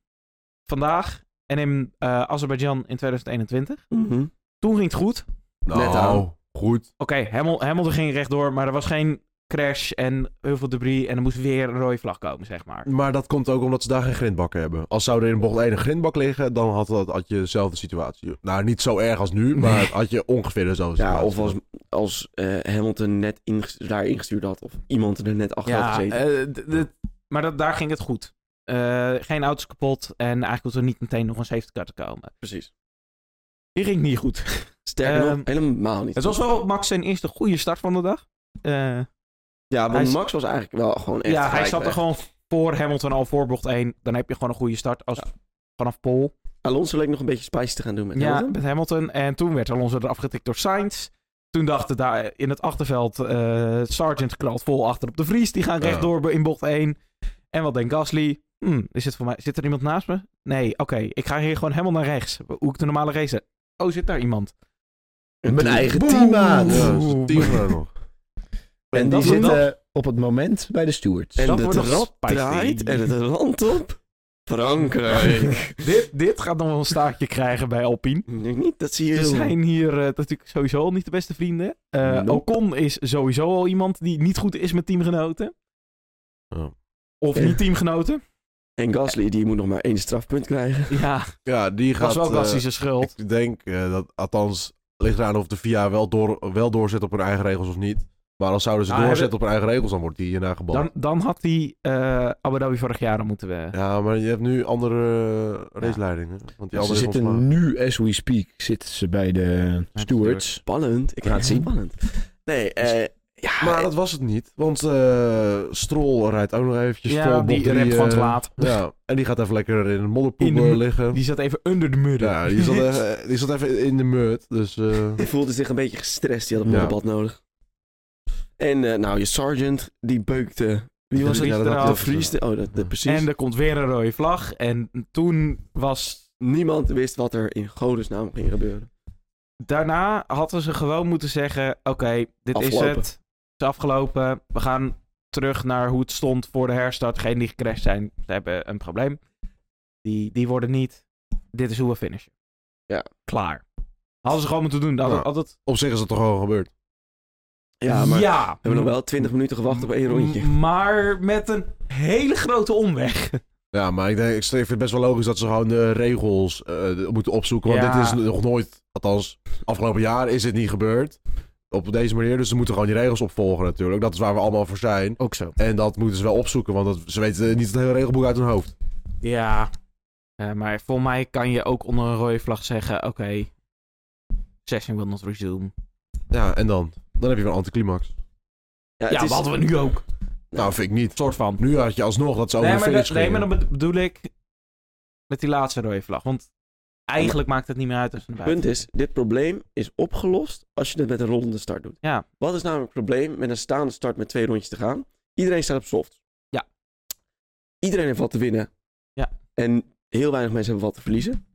Speaker 4: Vandaag en in eh Azerbeidzjan in 2021.
Speaker 1: Mhm.
Speaker 4: Toen ging het goed. Oké,
Speaker 1: Net aan.
Speaker 2: Nou, goed.
Speaker 4: Hamil- Hamilton ging rechtdoor, maar er was geen crash en heel veel debris. En er moest weer een rode vlag komen, zeg maar.
Speaker 2: Maar dat komt ook omdat ze daar geen grindbakken hebben. Als zou er in bocht 1 een grindbak liggen, dan had, dat, had je dezelfde situatie. Nou, niet zo erg als nu, maar
Speaker 4: Nee.
Speaker 2: had je ongeveer dezelfde
Speaker 1: Ja,
Speaker 2: situatie.
Speaker 1: of als, als eh, Hamilton net inges- daar ingestuurd had. Of iemand er net achter had
Speaker 4: Ja,
Speaker 1: gezeten.
Speaker 4: eh, d- d- maar dat, daar ging het goed. Eh, geen auto's kapot en eigenlijk hoefde er niet meteen nog een safety car te komen.
Speaker 1: Precies.
Speaker 4: Hier ging het niet goed.
Speaker 1: Sterker
Speaker 4: Ehm,
Speaker 1: nog, helemaal niet.
Speaker 4: Het was wel Max zijn eerste goede start van de dag. Eh,
Speaker 1: ja, want
Speaker 4: hij-
Speaker 1: Max was eigenlijk wel gewoon echt
Speaker 4: ja, hij
Speaker 1: gelijk
Speaker 4: zat er
Speaker 1: weg.
Speaker 4: gewoon voor Hamilton al voor bocht 1. Dan heb je gewoon een goede start als, vanaf pole.
Speaker 1: Alonso leek nog een beetje spice te gaan doen met
Speaker 4: ja,
Speaker 1: Hamilton.
Speaker 4: met Hamilton. En toen werd Alonso eraf getikt door Sainz. Toen dachten daar in het achterveld, eh Sargent knalt vol achter op de Vries. Die gaan
Speaker 2: Ja.
Speaker 4: rechtdoor in bocht 1. En wat denkt Gasly? Hm, is het voor mij, zit er iemand naast me? Nee, oké. ik ga hier gewoon helemaal naar rechts. Hoe ik de normale race... Oh, zit daar
Speaker 1: *laughs*
Speaker 4: iemand?
Speaker 3: Met
Speaker 1: Toen-
Speaker 3: een eigen
Speaker 4: Boem.
Speaker 3: teammaat.
Speaker 2: Ja, dat is
Speaker 4: Oeh.
Speaker 2: het team daar nog.
Speaker 1: En
Speaker 3: En
Speaker 1: dat
Speaker 3: die
Speaker 1: wordt
Speaker 3: zitten op het moment bij de stewards.
Speaker 1: En
Speaker 4: Dat
Speaker 1: de
Speaker 4: wordt nog
Speaker 1: trap
Speaker 4: spicy.
Speaker 1: draait en het land op.
Speaker 4: *laughs*
Speaker 1: Frankrijk.
Speaker 4: dit, dit gaat nog wel een staartje krijgen bij Alpine.
Speaker 1: Ik denk niet dat ze hier
Speaker 4: Ze
Speaker 1: heel-
Speaker 4: zijn hier eh, natuurlijk sowieso al niet de beste vrienden. Eh,
Speaker 1: Nope.
Speaker 4: Ocon is sowieso al iemand die niet goed is met teamgenoten.
Speaker 2: Ja.
Speaker 4: Of
Speaker 2: Eh.
Speaker 1: Ja.
Speaker 4: niet teamgenoten.
Speaker 1: En Gasly, die moet nog maar één strafpunt krijgen.
Speaker 4: Ja,
Speaker 2: *laughs* Ja, die gaat...
Speaker 4: was wel
Speaker 2: eh,
Speaker 4: Gasly zijn schuld.
Speaker 2: Ik denk eh, dat, althans, ligt eraan of de VIA wel, door, wel doorzet op hun eigen regels of niet. Maar als zouden ze
Speaker 4: Nou,
Speaker 2: doorzetten op hun eigen regels, dan wordt die hierna gebald.
Speaker 4: Dan, dan had hij eh Abu Dhabi vorig jaar al moeten we...
Speaker 2: Ja, maar je hebt nu andere eh, raceleidingen. Want die
Speaker 3: ze
Speaker 2: andere is
Speaker 3: zitten
Speaker 2: ontslagen.
Speaker 3: nu, as we speak, zitten ze bij de stewards.
Speaker 1: Spannend. Ik ga het zien. Spannend. Nee, eh, ja.
Speaker 2: Maar dat was het niet. Want eh Strol rijdt ook nog eventjes
Speaker 4: Ja,
Speaker 2: voor bocht
Speaker 4: die remt
Speaker 2: drie,
Speaker 4: gewoon
Speaker 2: eh,
Speaker 4: te laat. *laughs*
Speaker 2: Ja, en die gaat even lekker in een modderpoel
Speaker 4: In de-
Speaker 2: eh, liggen.
Speaker 4: Die zat even under de muur.
Speaker 2: Ja, die
Speaker 4: *laughs*
Speaker 2: zat, eh, even, die zat even in de mut. Dus eh,
Speaker 1: die voelde zich een beetje gestrest. Die had een
Speaker 2: Ja.
Speaker 1: modderbad nodig. En eh, nou, je sergeant, die beukte... Wie was het?
Speaker 4: Vries
Speaker 2: Ja, dat
Speaker 4: eraf.
Speaker 2: had
Speaker 1: De
Speaker 2: hij
Speaker 1: Vries. Oh, dat, dat- precies.
Speaker 4: en er komt weer een rode vlag. En toen was
Speaker 1: Niemand wist wat er in godesnaam ging gebeuren.
Speaker 4: daarna hadden ze gewoon moeten zeggen: Oké, dit is
Speaker 1: Afgelopen.
Speaker 4: het. Het is afgelopen. We gaan terug naar hoe het stond voor de herstart. Degenen die gecrashed zijn, ze hebben een probleem. Die, die worden niet. Dit is hoe we finishen.
Speaker 1: Ja.
Speaker 4: Klaar. Hadden ze gewoon moeten doen. Hadden,
Speaker 2: Ja.
Speaker 4: hadden het-
Speaker 2: op zich is dat toch gewoon gebeurd.
Speaker 1: Ja, maar
Speaker 4: ja. Mm.
Speaker 1: we hebben nog wel 20 minuten gewacht op één rondje.
Speaker 4: M- Maar met een hele grote omweg.
Speaker 2: Ja, maar ik, denk, ik vind het best wel logisch dat ze gewoon de regels eh, moeten opzoeken. Want
Speaker 4: Ja.
Speaker 2: dit is nog nooit, althans, afgelopen jaar is dit niet gebeurd. Op deze manier. Dus ze moeten gewoon die regels opvolgen natuurlijk. Dat is waar we allemaal voor zijn.
Speaker 4: Ook zo.
Speaker 2: En dat moeten ze wel opzoeken, want dat, ze weten niet het hele regelboek uit hun hoofd.
Speaker 4: Ja. Eh, maar voor mij kan je ook onder een rode vlag zeggen: Oké, session will not resume.
Speaker 2: Ja, en dan? Dan heb je weer een anticlimax.
Speaker 1: het is-
Speaker 4: Ja, wat hadden we nu ook.
Speaker 2: Nou, vind ik niet.
Speaker 4: soort van.
Speaker 2: Nu had je alsnog dat ze over
Speaker 4: Nee
Speaker 2: de
Speaker 4: maar,
Speaker 2: finish
Speaker 4: dat- nee, maar
Speaker 2: gingen.
Speaker 4: dan bedo- bedoel ik met die laatste rode vlag. Want eigenlijk maakt het niet meer uit als we naar
Speaker 1: Het punt
Speaker 4: buiten
Speaker 1: is, dit probleem is opgelost als je het met een rollende start doet.
Speaker 4: Ja.
Speaker 1: Wat is namelijk het probleem met een staande start met twee rondjes te gaan? Iedereen staat op soft.
Speaker 4: Ja.
Speaker 1: Iedereen heeft wat te winnen.
Speaker 4: Ja.
Speaker 1: En heel weinig mensen hebben wat te verliezen.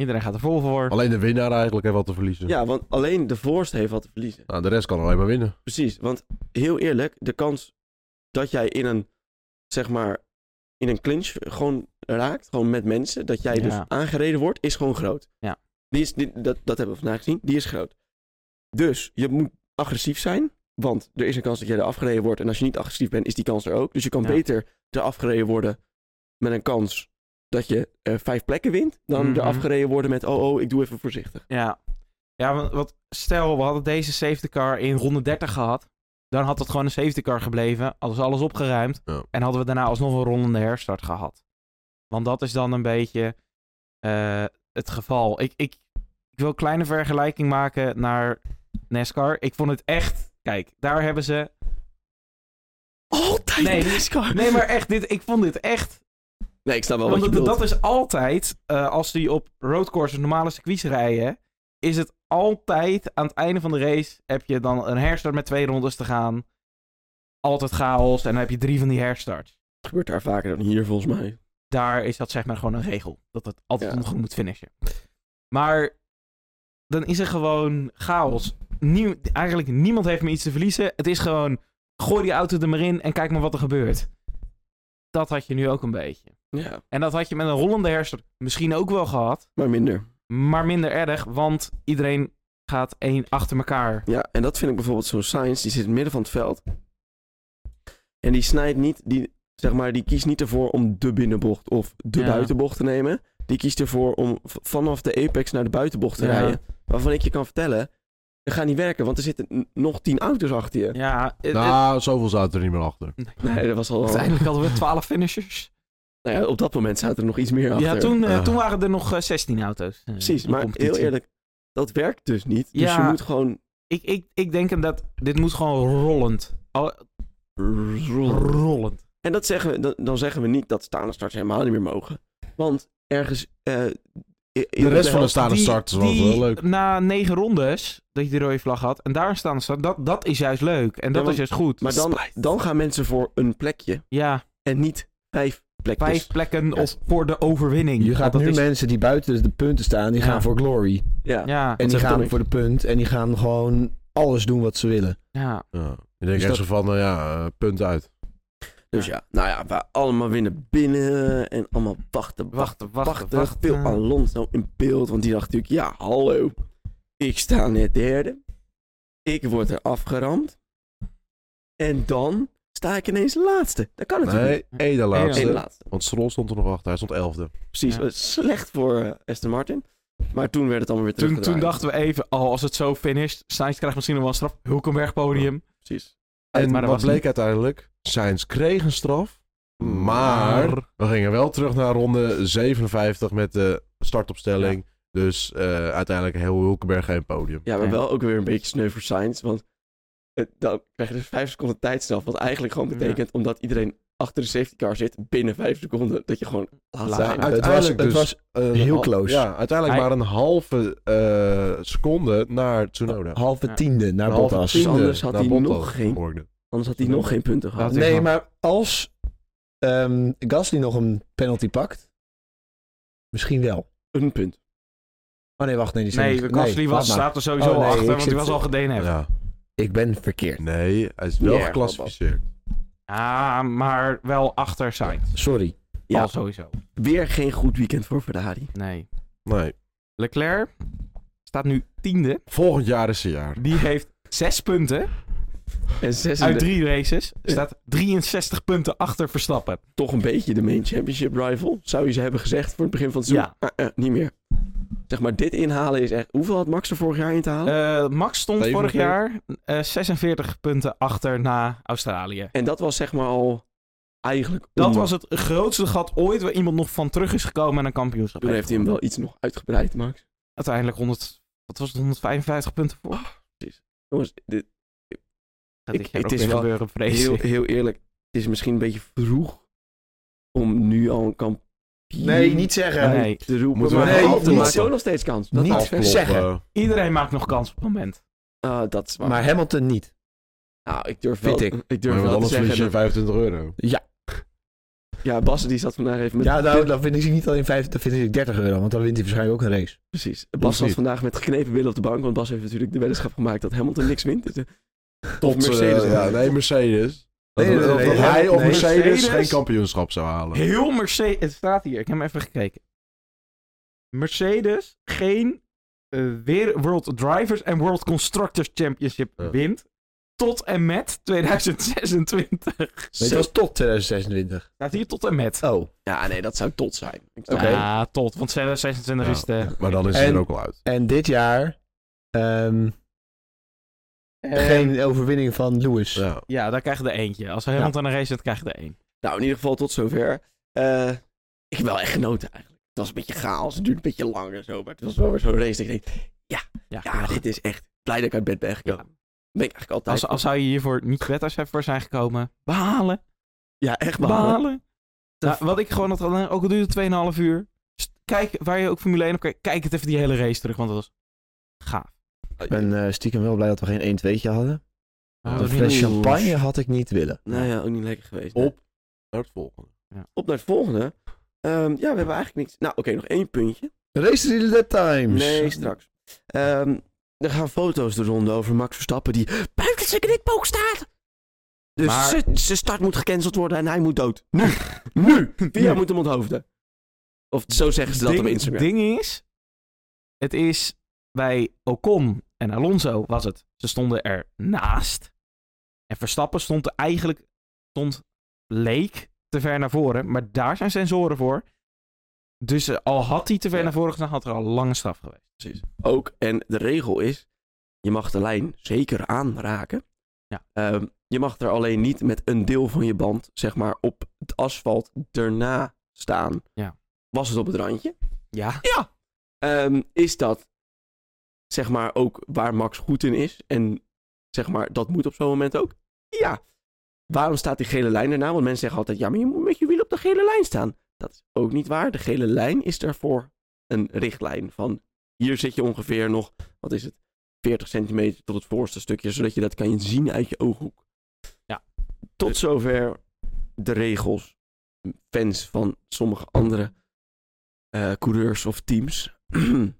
Speaker 4: Iedereen gaat er vol voor.
Speaker 2: Alleen de winnaar eigenlijk heeft wat te verliezen.
Speaker 1: Ja, want alleen de voorste heeft wat te verliezen.
Speaker 2: Nou, de rest kan alleen maar winnen.
Speaker 1: Precies, want heel eerlijk, de kans dat jij in een, zeg maar, in een clinch gewoon raakt, gewoon met mensen, dat jij dus
Speaker 4: Ja.
Speaker 1: aangereden wordt, is gewoon groot.
Speaker 4: Ja.
Speaker 1: Die is, die- dat, dat hebben we vandaag gezien, die is groot. Dus je moet agressief zijn, want er is een kans dat jij er afgereden wordt. En als je niet agressief bent, is die kans er ook. Dus je kan
Speaker 4: Ja.
Speaker 1: beter er afgereden worden met een kans dat je eh, vijf plekken wint, dan
Speaker 4: Mhm.
Speaker 1: er afgereden worden met, oh, oh, ik doe even voorzichtig.
Speaker 4: Ja, ja want, want stel we hadden deze safety car in ronde 30 gehad. Dan had het gewoon een safety car gebleven. Hadden ze alles opgeruimd.
Speaker 2: Ja.
Speaker 4: En hadden we daarna alsnog een rollende herstart gehad. Want dat is dan een beetje eh, het geval. Ik, ik, ik wil een kleine vergelijking maken naar NASCAR. Ik vond het echt... Kijk, daar hebben ze
Speaker 2: *laughs*
Speaker 1: Altijd
Speaker 4: Nee.
Speaker 1: NASCAR.
Speaker 4: Nee, maar echt, dit, ik vond dit echt.
Speaker 1: Nee, ik snap wel wat
Speaker 4: Want
Speaker 1: je
Speaker 4: dat,
Speaker 1: bedoelt.
Speaker 4: dat is altijd, eh, als die op roadcourses normale circuits rijden, is het altijd aan het einde van de race heb je dan een herstart met twee rondes te gaan. Altijd chaos en dan heb je drie van die herstarts.
Speaker 1: gebeurt daar vaker dan hier volgens mij.
Speaker 4: Daar is dat zeg maar gewoon een regel. Dat het altijd
Speaker 1: Ja.
Speaker 4: nog moet finishen. Maar dan is er gewoon chaos. Nieu- eigenlijk niemand heeft meer iets te verliezen. Het is gewoon, gooi die auto er maar in en kijk maar wat er gebeurt. dat had je nu ook een beetje.
Speaker 1: Ja,
Speaker 4: En dat had je met een rollende hersen misschien ook wel gehad.
Speaker 1: maar minder.
Speaker 4: Maar minder erg, want iedereen gaat één achter elkaar.
Speaker 1: Ja, en dat vind ik bijvoorbeeld zo'n Science, die zit in het midden van het veld. En die snijdt niet, die, zeg maar, die kiest niet ervoor om de binnenbocht of de
Speaker 4: Ja.
Speaker 1: buitenbocht te nemen. Die kiest ervoor om v- vanaf de apex naar de buitenbocht te
Speaker 4: Ja.
Speaker 1: rijden. Waarvan ik je kan vertellen, dat gaat niet werken, want er zitten n- nog tien auto's achter je.
Speaker 4: Ja, het-
Speaker 2: Nou, zoveel zaten er niet meer achter.
Speaker 4: het-
Speaker 1: Nee, dat was al...
Speaker 4: uiteindelijk hadden we 12 finishers.
Speaker 1: Nou ja, op dat moment zaten er nog iets meer achter.
Speaker 4: Ja, toen, eh,
Speaker 2: Ah.
Speaker 4: toen waren er nog eh, 16 auto's. eh,
Speaker 1: Precies,
Speaker 4: in de
Speaker 1: maar heel
Speaker 4: competitie.
Speaker 1: eerlijk, dat werkt dus niet. Dus
Speaker 4: Ja.
Speaker 1: je moet gewoon...
Speaker 4: Ik, ik, ik denk hem dat dit moet gewoon rollend. Al- rollend.
Speaker 1: En dat zeggen we, dan, dan zeggen we niet dat staande starts helemaal niet meer mogen. Want ergens... eh, i- in
Speaker 2: De rest van de
Speaker 1: helft-
Speaker 2: staande
Speaker 4: Die-
Speaker 2: starters was wel
Speaker 4: die
Speaker 2: leuk.
Speaker 4: Na negen rondes dat je de rode vlag had en daar staan start, dat, dat is juist leuk. En dat
Speaker 1: want-
Speaker 4: is juist goed.
Speaker 1: Maar dan, dan gaan mensen voor een plekje
Speaker 4: ja,
Speaker 1: en niet vijf plekjes.
Speaker 4: vijf plekken
Speaker 2: Ja.
Speaker 4: of voor de overwinning.
Speaker 3: Je gaat
Speaker 4: Want
Speaker 3: nu
Speaker 4: dat is-
Speaker 3: mensen die buiten de punten staan, die
Speaker 4: Ja.
Speaker 3: gaan voor glory.
Speaker 1: Ja.
Speaker 4: Ja,
Speaker 3: En die
Speaker 1: zegt
Speaker 3: gaan
Speaker 1: Tonic?
Speaker 3: voor de punt en die gaan gewoon alles doen wat ze willen.
Speaker 4: ja.
Speaker 2: Ja. Ik denk
Speaker 3: Dus
Speaker 2: echt
Speaker 3: dat-
Speaker 2: zo van, nou ja, eh, punt uit.
Speaker 1: Dus ja, nou ja, we allemaal winnen binnen en allemaal wachten, wachten,
Speaker 4: Wachten,
Speaker 1: wachten.
Speaker 4: wachten,
Speaker 1: Veel
Speaker 4: wachten.
Speaker 1: Alonso nou in beeld, want die dacht natuurlijk, ja, hallo, ik sta net derde. Ik word er afgeramd. En dan sta ik ineens laatste. Dat kan natuurlijk
Speaker 2: Nee,
Speaker 4: niet.
Speaker 2: één
Speaker 1: niet. Eén
Speaker 2: laatste.
Speaker 1: laatste.
Speaker 2: Want Stroll stond er nog achter, hij stond elfde.
Speaker 1: Precies,
Speaker 4: Ja.
Speaker 1: dat is slecht voor eh, Aston Martin. Maar toen werd het allemaal weer
Speaker 4: Toen,
Speaker 1: teruggedraaid.
Speaker 4: toen dachten we even, oh, als het zo finisht, Sainz krijgt misschien nog wel een straf. Hulkenberg podium.
Speaker 1: Precies.
Speaker 2: En
Speaker 4: maar dat
Speaker 2: wat
Speaker 4: was
Speaker 2: bleek
Speaker 4: niet.
Speaker 2: uiteindelijk? Sainz kreeg een straf.
Speaker 4: Mm.
Speaker 3: Ah,
Speaker 2: Maar we gingen wel terug naar ronde 57 met de startopstelling. Dus eh, uiteindelijk heel Hulkenberg geen podium.
Speaker 1: Ja, maar
Speaker 4: Ja.
Speaker 1: wel ook weer een beetje sneu voor Sainz. Want eh, dan krijg je dus vijf seconden tijdstraf. Wat eigenlijk gewoon betekent, omdat iedereen achter de safety car zit, binnen vijf seconden, dat je gewoon laat
Speaker 4: Laat.
Speaker 1: zijn.
Speaker 4: Ja,
Speaker 3: het was,
Speaker 2: uiteindelijk
Speaker 3: het
Speaker 2: dus-
Speaker 3: was eh,
Speaker 2: Een
Speaker 3: Heel
Speaker 2: hal-
Speaker 3: close.
Speaker 2: Ja, uiteindelijk
Speaker 4: Hij-
Speaker 2: maar een halve eh, seconde naar Tsunoda.
Speaker 3: halve
Speaker 4: Ja.
Speaker 3: tiende naar
Speaker 2: Een nou halve
Speaker 3: Bottas.
Speaker 2: tiende
Speaker 1: Anders had
Speaker 2: naar
Speaker 1: hij
Speaker 2: Bottas
Speaker 1: nog geen-
Speaker 2: geworden.
Speaker 1: Anders had hij nog geen punten gehad.
Speaker 4: Laat ik
Speaker 3: Nee,
Speaker 4: maar-
Speaker 3: maar als ehm, Gasly nog een penalty pakt, misschien wel.
Speaker 1: Een punt.
Speaker 3: Oh nee, wacht, nee, die staat
Speaker 4: Nee,
Speaker 3: niet-
Speaker 4: Gasly was,
Speaker 3: wacht maar.
Speaker 4: staat er sowieso
Speaker 3: Oh,
Speaker 4: al
Speaker 3: nee,
Speaker 4: achter,
Speaker 3: ik
Speaker 4: want
Speaker 3: zit-
Speaker 4: die was al gednf. Ja.
Speaker 2: Ja.
Speaker 3: Ik ben verkeerd.
Speaker 2: Nee, hij is wel
Speaker 1: Ja,
Speaker 2: geclassificeerd.
Speaker 4: Ah, maar wel achter Sainz.
Speaker 3: Sorry.
Speaker 1: Ja.
Speaker 4: Ja, al sowieso.
Speaker 1: Weer geen goed weekend voor Ferrari.
Speaker 4: Nee.
Speaker 2: Nee.
Speaker 4: Leclerc staat nu tiende.
Speaker 2: Volgend jaar is zijn jaar.
Speaker 4: Die heeft zes punten
Speaker 1: En zes
Speaker 4: uit drie races. Staat 63 punten achter Verstappen.
Speaker 1: toch een beetje de main championship rival. Zou je ze hebben gezegd voor het begin van het seizoen? Ah, eh, niet meer. Zeg maar, dit inhalen is echt... Hoeveel had Max er vorig jaar in te
Speaker 3: Oh.
Speaker 1: halen?
Speaker 4: Eh, Max stond vorig
Speaker 2: 47.
Speaker 4: jaar eh, 46 punten achter na Australië.
Speaker 1: En dat was zeg maar al eigenlijk...
Speaker 4: Dat
Speaker 1: onmogelijk.
Speaker 4: was het grootste gat ooit waar iemand nog van terug is gekomen en een kampioenschap
Speaker 1: Toen heeft hij hem wel iets nog uitgebreid, Max.
Speaker 4: Uiteindelijk 100, wat was het, 155 punten voor?
Speaker 1: Jongens, dit,
Speaker 4: Gaat
Speaker 1: Ik-
Speaker 4: dit jaar
Speaker 1: het
Speaker 4: ook
Speaker 1: is
Speaker 4: weer
Speaker 1: wel
Speaker 4: gebeuren, vrees
Speaker 1: heel,
Speaker 4: ik.
Speaker 1: heel eerlijk, het is misschien een beetje vroeg om nu al een kampioen
Speaker 3: zeggen.
Speaker 4: Nee.
Speaker 1: te roepen.
Speaker 2: Moeten
Speaker 3: we
Speaker 1: maar hij
Speaker 3: nee, niet
Speaker 1: maakt
Speaker 3: zeggen.
Speaker 1: zo nog steeds kans. Dat
Speaker 3: Niet
Speaker 1: maakt-
Speaker 2: Afkloppen.
Speaker 3: zeggen.
Speaker 4: Iedereen maakt nog kans op het moment.
Speaker 1: Ah, dat is waar.
Speaker 3: Maar Hamilton niet.
Speaker 1: nou, ik durf wel,
Speaker 3: Vind
Speaker 1: ik.
Speaker 3: ik.
Speaker 1: durf
Speaker 2: Maar
Speaker 1: wel te
Speaker 2: anders verlies
Speaker 1: zeggen.
Speaker 2: je 25 euro.
Speaker 1: dat- ja, Bas die zat vandaag even met...
Speaker 3: Ja, nou, dan vind ik ze niet alleen 50, dan vind ik 30 euro, want dan wint hij waarschijnlijk ook een race.
Speaker 1: precies.
Speaker 2: Hoeft
Speaker 1: Bas zat
Speaker 2: niet.
Speaker 1: vandaag met geknepen billen op de bank, want Bas heeft natuurlijk de weddenschap gemaakt dat Hamilton niks wint. Dus, eh,
Speaker 2: Tot
Speaker 1: Of Mercedes.
Speaker 2: Mercedes. eh, ja, nee, Mercedes. Dat,
Speaker 3: Nee, nee,
Speaker 2: dat-
Speaker 3: nee,
Speaker 2: dat
Speaker 3: nee,
Speaker 2: hij
Speaker 3: nee.
Speaker 2: of Mercedes,
Speaker 4: Mercedes.
Speaker 2: geen kampioenschap zou halen.
Speaker 4: Heel Mercedes. Het staat hier, ik heb hem even gekeken. Mercedes geen eh, weer World Drivers en World Constructors Championship
Speaker 2: Ja.
Speaker 4: wint. Tot en met 2026.
Speaker 3: Nee,
Speaker 1: zo-
Speaker 3: het was tot 2026.
Speaker 4: Staat hier tot en met.
Speaker 3: Oh.
Speaker 1: Ja, nee, dat zou tot zijn. Ik zou-
Speaker 3: Oké.
Speaker 4: Ja, tot. Want 2026
Speaker 2: Ja,
Speaker 4: is de...
Speaker 2: ja, Maar dan is hij
Speaker 3: En-
Speaker 2: er ook al uit.
Speaker 3: En dit jaar ehm,
Speaker 4: Eh,
Speaker 3: geen overwinning van Lewis.
Speaker 2: Ja.
Speaker 4: Ja, daar krijg je er eentje. Als Hamilton een race wint, krijg je er één.
Speaker 1: Nou, in ieder geval tot zover. Eh, ik heb wel echt genoten eigenlijk. Het was een beetje chaos, het duurde een beetje lang en zo, maar het was wel weer zo'n race dat ik denk,
Speaker 4: Ja,
Speaker 1: ja, dit is echt... Blij dat ik uit bed ben gekomen. Ben ik eigenlijk altijd...
Speaker 4: Als, als zou je hiervoor niet wetters hebben voor zijn gekomen, behalen,
Speaker 1: Ja, echt
Speaker 4: behalen.
Speaker 1: maar.
Speaker 4: Nou, wat ik gewoon had gedaan, ook al duurde het 2,5 uur. st- Kijk, waar je ook Formule 1 op kijkt, kijk het even die hele race terug, want dat was gaaf.
Speaker 3: Ik ben eh, stiekem wel blij dat we geen 1-2'tje hadden.
Speaker 2: Ja,
Speaker 4: Ah, dat
Speaker 3: Een
Speaker 4: is niet
Speaker 3: fles
Speaker 4: goed.
Speaker 3: champagne had ik niet willen.
Speaker 1: Nou ja, ook niet lekker geweest.
Speaker 2: Op. Naar het volgende.
Speaker 1: Op naar het volgende. Ehm, ja, we hebben eigenlijk niks. Nou, oké, nog één puntje.
Speaker 3: Race in the times.
Speaker 1: Nee, straks. Ehm, er gaan foto's de ronde over Max Verstappen die buiten zijn knikboog staat. Dus
Speaker 4: Maar-
Speaker 1: ze- zijn start moet gecanceld worden en hij moet dood.
Speaker 4: *laughs*
Speaker 1: Nu! nu! Via
Speaker 4: Nu.
Speaker 1: moet hem onthoofden. Of zo zeggen ze dat op Instagram.
Speaker 4: ding is, het is bij Ocon en Alonso was het. Ze stonden er naast. En Verstappen stond er eigenlijk, stond leek te ver naar voren. Maar daar zijn sensoren voor. Dus eh, al had hij te ver
Speaker 1: Ja.
Speaker 4: naar voren gestaan, had er al een lange straf geweest. Precies.
Speaker 1: Ook, en de regel is, je mag de lijn zeker aanraken.
Speaker 4: Ja.
Speaker 1: Ehm, je mag er alleen niet met een deel van je band, zeg maar, op het asfalt erna staan.
Speaker 4: Ja.
Speaker 1: Was het op het randje?
Speaker 4: Ja.
Speaker 1: Ja. Ehm, is dat zeg maar ook waar Max goed in is? En zeg maar, dat moet op zo'n moment ook? Ja. Waarom staat die gele lijn erna? Want mensen zeggen altijd, ja, maar je moet met je wiel op de gele lijn staan. Dat is ook niet waar. De gele lijn is daarvoor een richtlijn van hier zit je ongeveer nog, wat is het, 40 centimeter tot het voorste stukje, zodat je dat kan zien uit je ooghoek.
Speaker 4: Ja. Dus-
Speaker 1: Tot zover de regels. Fans van sommige andere eh, coureurs of teams. *clears throat*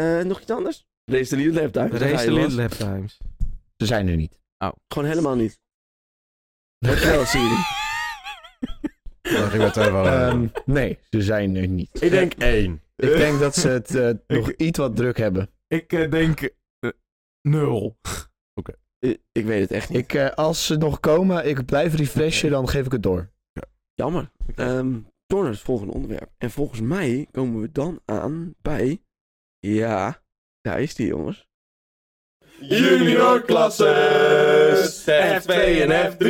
Speaker 1: Eh, nog iets anders? Race the Little Lab Time. Daar ga
Speaker 4: Race
Speaker 1: je, Oh.
Speaker 4: de
Speaker 1: Bas.
Speaker 4: Little Lap Times.
Speaker 3: Ze zijn er niet.
Speaker 1: Gewoon helemaal niet. Dankjewel, Siri.
Speaker 2: Dan ging mijn telefoon aan.
Speaker 3: Ehm, nee, ze zijn er niet.
Speaker 1: Ik denk,
Speaker 2: één.
Speaker 3: Ik denk dat ze het *laughs* eh, nog iets wat druk hebben.
Speaker 4: Ik eh, denk eh, nul.
Speaker 1: eh, *laughs* ik weet het echt niet.
Speaker 3: Ik, eh, als ze nog komen, ik blijf refreshen, dan geef ik het door.
Speaker 1: Jammer. Ehm door naar het volgende onderwerp. En volgens mij komen we dan aan bij... Ja, daar is die jongens.
Speaker 5: Junior klasses F2 en F3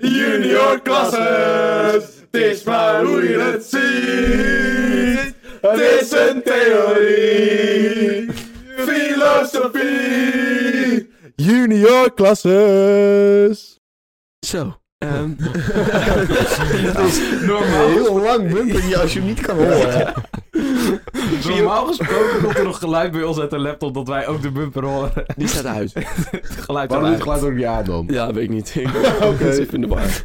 Speaker 5: Junior klasses Het is maar hoe je het ziet Het is een theorie Filosofie
Speaker 2: Junior klasses!
Speaker 1: Zo.
Speaker 3: *laughs*
Speaker 1: ehm, *laughs*
Speaker 3: Dat is normaal. Heel lang bumpertje als je hem niet kan horen.
Speaker 4: Normaal gesproken komt er nog geluid bij ons uit de laptop dat wij ook de bumper horen. *laughs*
Speaker 1: die staat uit.
Speaker 4: Geluid
Speaker 2: Waarom doet het
Speaker 4: eruit.
Speaker 2: geluid ook niet aan dan?
Speaker 1: Ja, weet ik niet. Ik
Speaker 2: Oké.
Speaker 1: zit in de war.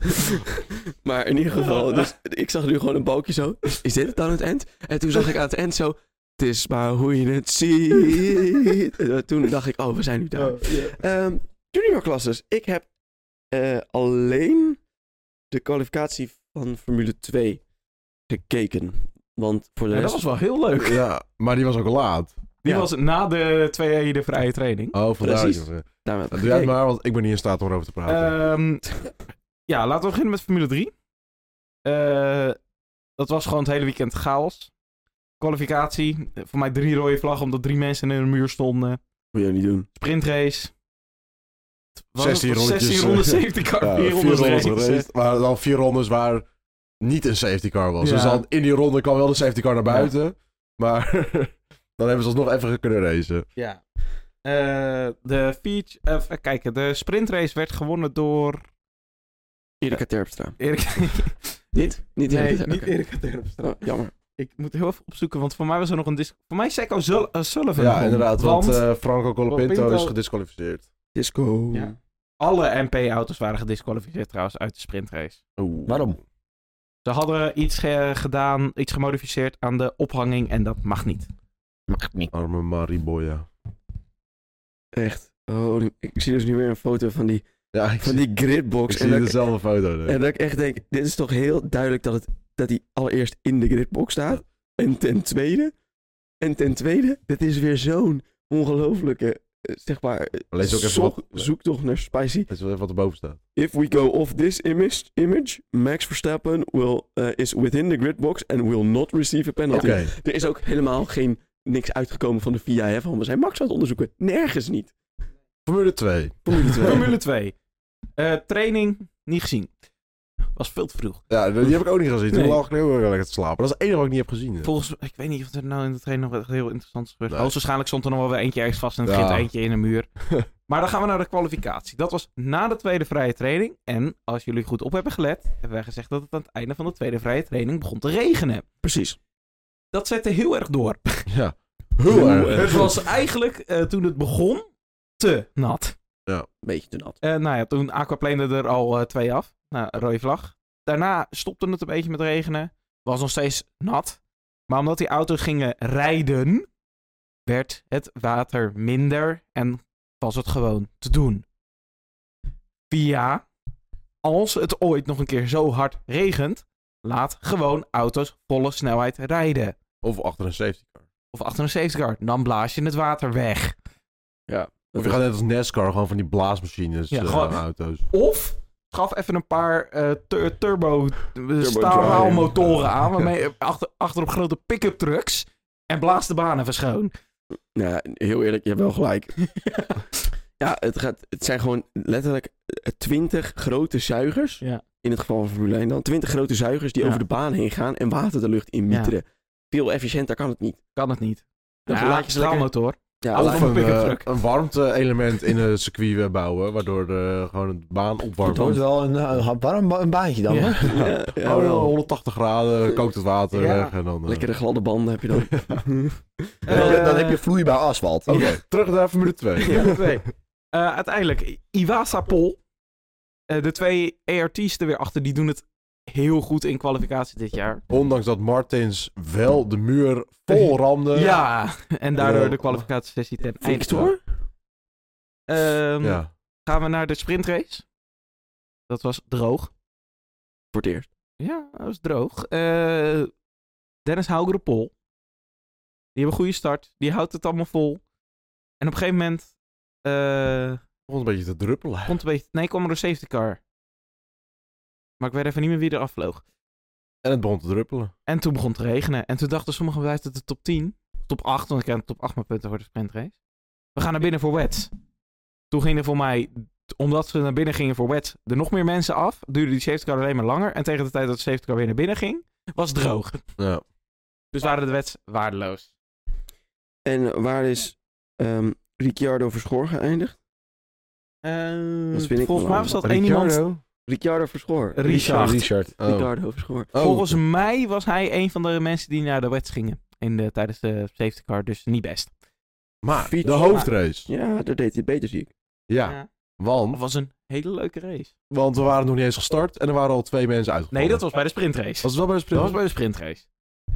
Speaker 1: maar in ieder geval, dus ik zag nu gewoon een balkje zo. Is, is dit het dan het eind? En toen zag ik aan het eind zo... Het is maar hoe je het ziet. En toen dacht ik, oh, we zijn nu daar. Ehm, junior classes. Ik heb eh, alleen de kwalificatie van Formule 2 gekeken. Want voor de
Speaker 4: Ja, dat
Speaker 1: rest...
Speaker 4: was wel heel leuk.
Speaker 2: Ja, maar die was ook laat.
Speaker 4: Die
Speaker 1: Ja.
Speaker 4: was na de twee uur de vrije training.
Speaker 2: Oh, vandaar.
Speaker 1: Precies.
Speaker 2: dat je dat-
Speaker 1: Daarom heb ik
Speaker 2: Doe jij het
Speaker 1: gekeken.
Speaker 2: maar, want ik ben niet in staat om erover te praten.
Speaker 4: Ehm, ja, laten we beginnen met Formule 3. Eh, dat was gewoon het hele weekend chaos. Kwalificatie, eh, voor mij drie rode vlaggen omdat drie mensen in een muur stonden.
Speaker 1: *laughs* Moet je niet doen.
Speaker 4: Sprintrace. Het was
Speaker 2: 16
Speaker 4: het?
Speaker 2: rondjes.
Speaker 4: 16 ronden
Speaker 2: *laughs*
Speaker 4: safety car,
Speaker 2: Ja,
Speaker 4: 4
Speaker 2: vier
Speaker 4: rondes
Speaker 2: rondes
Speaker 4: race.
Speaker 2: geweest, maar dan vier rondes waar niet een safety car was.
Speaker 4: Ja.
Speaker 2: Dus dan in die ronde kwam wel de safety car naar
Speaker 4: Ja.
Speaker 2: buiten. Maar *laughs* dan hebben ze alsnog even kunnen racen.
Speaker 4: Ja. Eh, de feature, eh, even kijken, de sprintrace werd gewonnen door
Speaker 1: Erika Terpstra.
Speaker 2: *laughs*
Speaker 4: Erik.
Speaker 1: Dit? Niet
Speaker 4: nee,
Speaker 1: Erika-
Speaker 4: niet
Speaker 1: oké.
Speaker 4: Erika Terpstra.
Speaker 1: Oh, jammer.
Speaker 4: Ik moet heel even opzoeken, want voor mij was er nog een disc. Voor mij Seco Sul- eh, Sullivan.
Speaker 2: ja,
Speaker 4: won,
Speaker 2: inderdaad. Want,
Speaker 4: want
Speaker 2: eh, Franco Colapinto
Speaker 4: Colapinto-
Speaker 2: is gedisqualificeerd.
Speaker 1: Disco.
Speaker 4: Ja. alle MP-auto's waren gedisqualificeerd trouwens uit de sprintrace.
Speaker 3: Waarom?
Speaker 4: Ze hadden iets eh, gedaan, iets gemodificeerd aan de ophanging en dat mag niet.
Speaker 3: Mag niet.
Speaker 2: Arme Mariboya.
Speaker 1: Echt. Oh, die- ik zie dus nu weer een foto van die,
Speaker 2: Ja, ik
Speaker 1: van
Speaker 2: zie,
Speaker 1: die gridbox. en,
Speaker 2: ik zie
Speaker 1: dat ik,
Speaker 2: dezelfde foto. nee.
Speaker 1: en dat ik echt denk, dit is toch heel duidelijk dat, het, dat die allereerst in de gridbox staat. En ten tweede, en ten tweede, dit is weer zo'n ongelofelijke, eh, zeg maar, eh,
Speaker 2: Lees ook even
Speaker 1: zoek-
Speaker 2: wat,
Speaker 1: zoektocht naar spicy.
Speaker 2: lees even wat erboven staat.
Speaker 1: If we go off this image, image Max Verstappen will, eh, is within the grid box and will not receive a
Speaker 2: Oké.
Speaker 1: penalty. Er is ook helemaal geen niks uitgekomen van de VIA. Hè, van we zijn Max aan het onderzoeken. Nergens niet.
Speaker 2: Formule 2.
Speaker 1: Formule 2.
Speaker 4: Formule 2. Eh, training niet gezien. Was veel te vroeg.
Speaker 2: Ja, die heb ik ook niet gezien. Toen
Speaker 4: Nee.
Speaker 2: lag ik heel erg lekker te slapen. Dat is het enige wat ik niet heb gezien. hè.
Speaker 4: Volgens ik weet niet of er nou in de training nog wat heel interessant is gebeurd.
Speaker 2: Nee.
Speaker 4: Hoogstwaarschijnlijk stond er nog wel weer eentje ergens vast en het
Speaker 2: Ja.
Speaker 4: begint eentje in een muur. maar dan gaan we naar de kwalificatie. Dat was na de tweede vrije training. En als jullie goed op hebben gelet, hebben wij gezegd dat het aan het einde van de tweede vrije training begon te regenen.
Speaker 1: *laughs* Precies.
Speaker 4: Dat zette heel erg door.
Speaker 2: *laughs* Ja. Heel erg.
Speaker 4: Het was eigenlijk eh, toen het begon te nat.
Speaker 1: Beetje te nat.
Speaker 4: Eh, nou ja, toen aquaplande er al eh, twee af. Nou, rode vlag. Daarna stopte het een beetje met regenen. Was nog steeds nat. Maar omdat die auto's gingen rijden, werd het water minder en was het gewoon te doen. via, als het ooit nog een keer zo hard regent, laat gewoon auto's volle snelheid rijden.
Speaker 2: Of achter een safety car.
Speaker 4: Of achter een safety car, dan blaas je het water weg.
Speaker 2: Of je gaat net als E NASCAR gewoon van die blaasmachines
Speaker 4: Ja,
Speaker 2: eh,
Speaker 4: gewoon-
Speaker 2: aan auto's.
Speaker 4: Of gaf even een paar eh, tur- turbo,
Speaker 1: drive.
Speaker 4: motoren aan, waarmee je achter, achter op grote pick-up trucks en blaas de baan even schoon.
Speaker 1: Nou, heel eerlijk, je hebt wel gelijk. ja, het, gaat, het zijn gewoon letterlijk eh, twintig grote zuigers.
Speaker 4: Ja.
Speaker 1: In het geval van Formule 1 dan. Twintig grote zuigers die
Speaker 4: Ja.
Speaker 1: over de baan heen gaan en water de lucht inmieteren. Veel efficiënter kan het niet.
Speaker 4: Kan het niet.
Speaker 1: Dan
Speaker 4: Ja,
Speaker 1: laat
Speaker 4: ja
Speaker 1: je ze lekker-
Speaker 4: straalmotor.
Speaker 1: Ja,
Speaker 4: Of
Speaker 1: laat-
Speaker 2: Of
Speaker 4: een
Speaker 2: een,
Speaker 4: pick-up
Speaker 2: eh,
Speaker 4: truck.
Speaker 2: een warmte-element in een circuit weer bouwen, waardoor de, gewoon de baan opwarmt.
Speaker 3: Het wordt wel een, een warm ba- een baantje dan.
Speaker 4: Ja.
Speaker 3: hoor.
Speaker 1: ja, ja,
Speaker 2: Oh,
Speaker 1: wel.
Speaker 2: 180 graden, kookt het water
Speaker 4: Ja.
Speaker 2: weg en dan... eh, *laughs*
Speaker 1: Lekkere gladde banden heb je dan.
Speaker 3: Dan-
Speaker 4: Eh,
Speaker 3: dan heb je vloeibaar asfalt.
Speaker 2: Oké, terug naar Formule 2.
Speaker 4: Ja, twee. *laughs* Eh, uiteindelijk, Iwasa Pol. Eh, de twee ERT's er weer achter, die doen het heel goed in kwalificatie dit jaar.
Speaker 2: Ondanks dat Martins wel de muur vol ramde.
Speaker 4: Eh, ja, *laughs* en daardoor
Speaker 2: eh,
Speaker 4: de kwalificatiesessie ten einde.
Speaker 1: Victor?
Speaker 4: Ehm,
Speaker 2: Ja.
Speaker 4: Gaan we naar de sprintrace. Dat was droog.
Speaker 1: Voor het eerst.
Speaker 4: Ja, dat was droog. Eh, Dennis Hougere Pol. Die hebben een goede start. Die houdt het allemaal vol. En op een gegeven moment eh,
Speaker 2: Begon een beetje te druppelen.
Speaker 4: Komt een beetje... Nee, kwam er een safety car. Maar ik weet even niet meer wie er afvloog.
Speaker 2: En het begon te druppelen.
Speaker 4: En toen begon het te regenen. En toen dachten sommigen, blijft het de top 10? Top 8, want ik heb top 8 mijn punten voor de sprintrace. We gaan naar binnen voor wets. Toen gingen voor mij, omdat ze naar binnen gingen voor wets, er nog meer mensen af. Duurde die safety car alleen maar langer. En tegen de tijd dat de safety car weer naar binnen ging, was het droog.
Speaker 2: Ja. Oh.
Speaker 4: Dus waren de wets waardeloos.
Speaker 1: En waar is ehm, Ricciardo Verschoor geëindigd? Dat vind ik
Speaker 4: Eh, volgens mij was dat één iemand...
Speaker 2: Ricciardo?
Speaker 1: Ricciardo Verschoor.
Speaker 4: Richard.
Speaker 3: Richard.
Speaker 2: Oh.
Speaker 1: Ricciardo Verschoor.
Speaker 2: Oh.
Speaker 4: Volgens mij was hij een van de mensen die naar de wets gingen in de, tijdens de safety car. Dus niet best.
Speaker 2: Maar
Speaker 1: Fiets.
Speaker 2: de hoofdrace.
Speaker 1: Ja, daar deed hij het beter, zie ik.
Speaker 2: Ja, want,
Speaker 4: Het was een hele leuke race.
Speaker 2: want we waren nog niet eens gestart en er waren al twee mensen uitgevallen.
Speaker 4: Nee, dat was bij de sprintrace.
Speaker 2: was het wel bij de
Speaker 4: Dat
Speaker 2: sprint.
Speaker 4: was bij de sprintrace.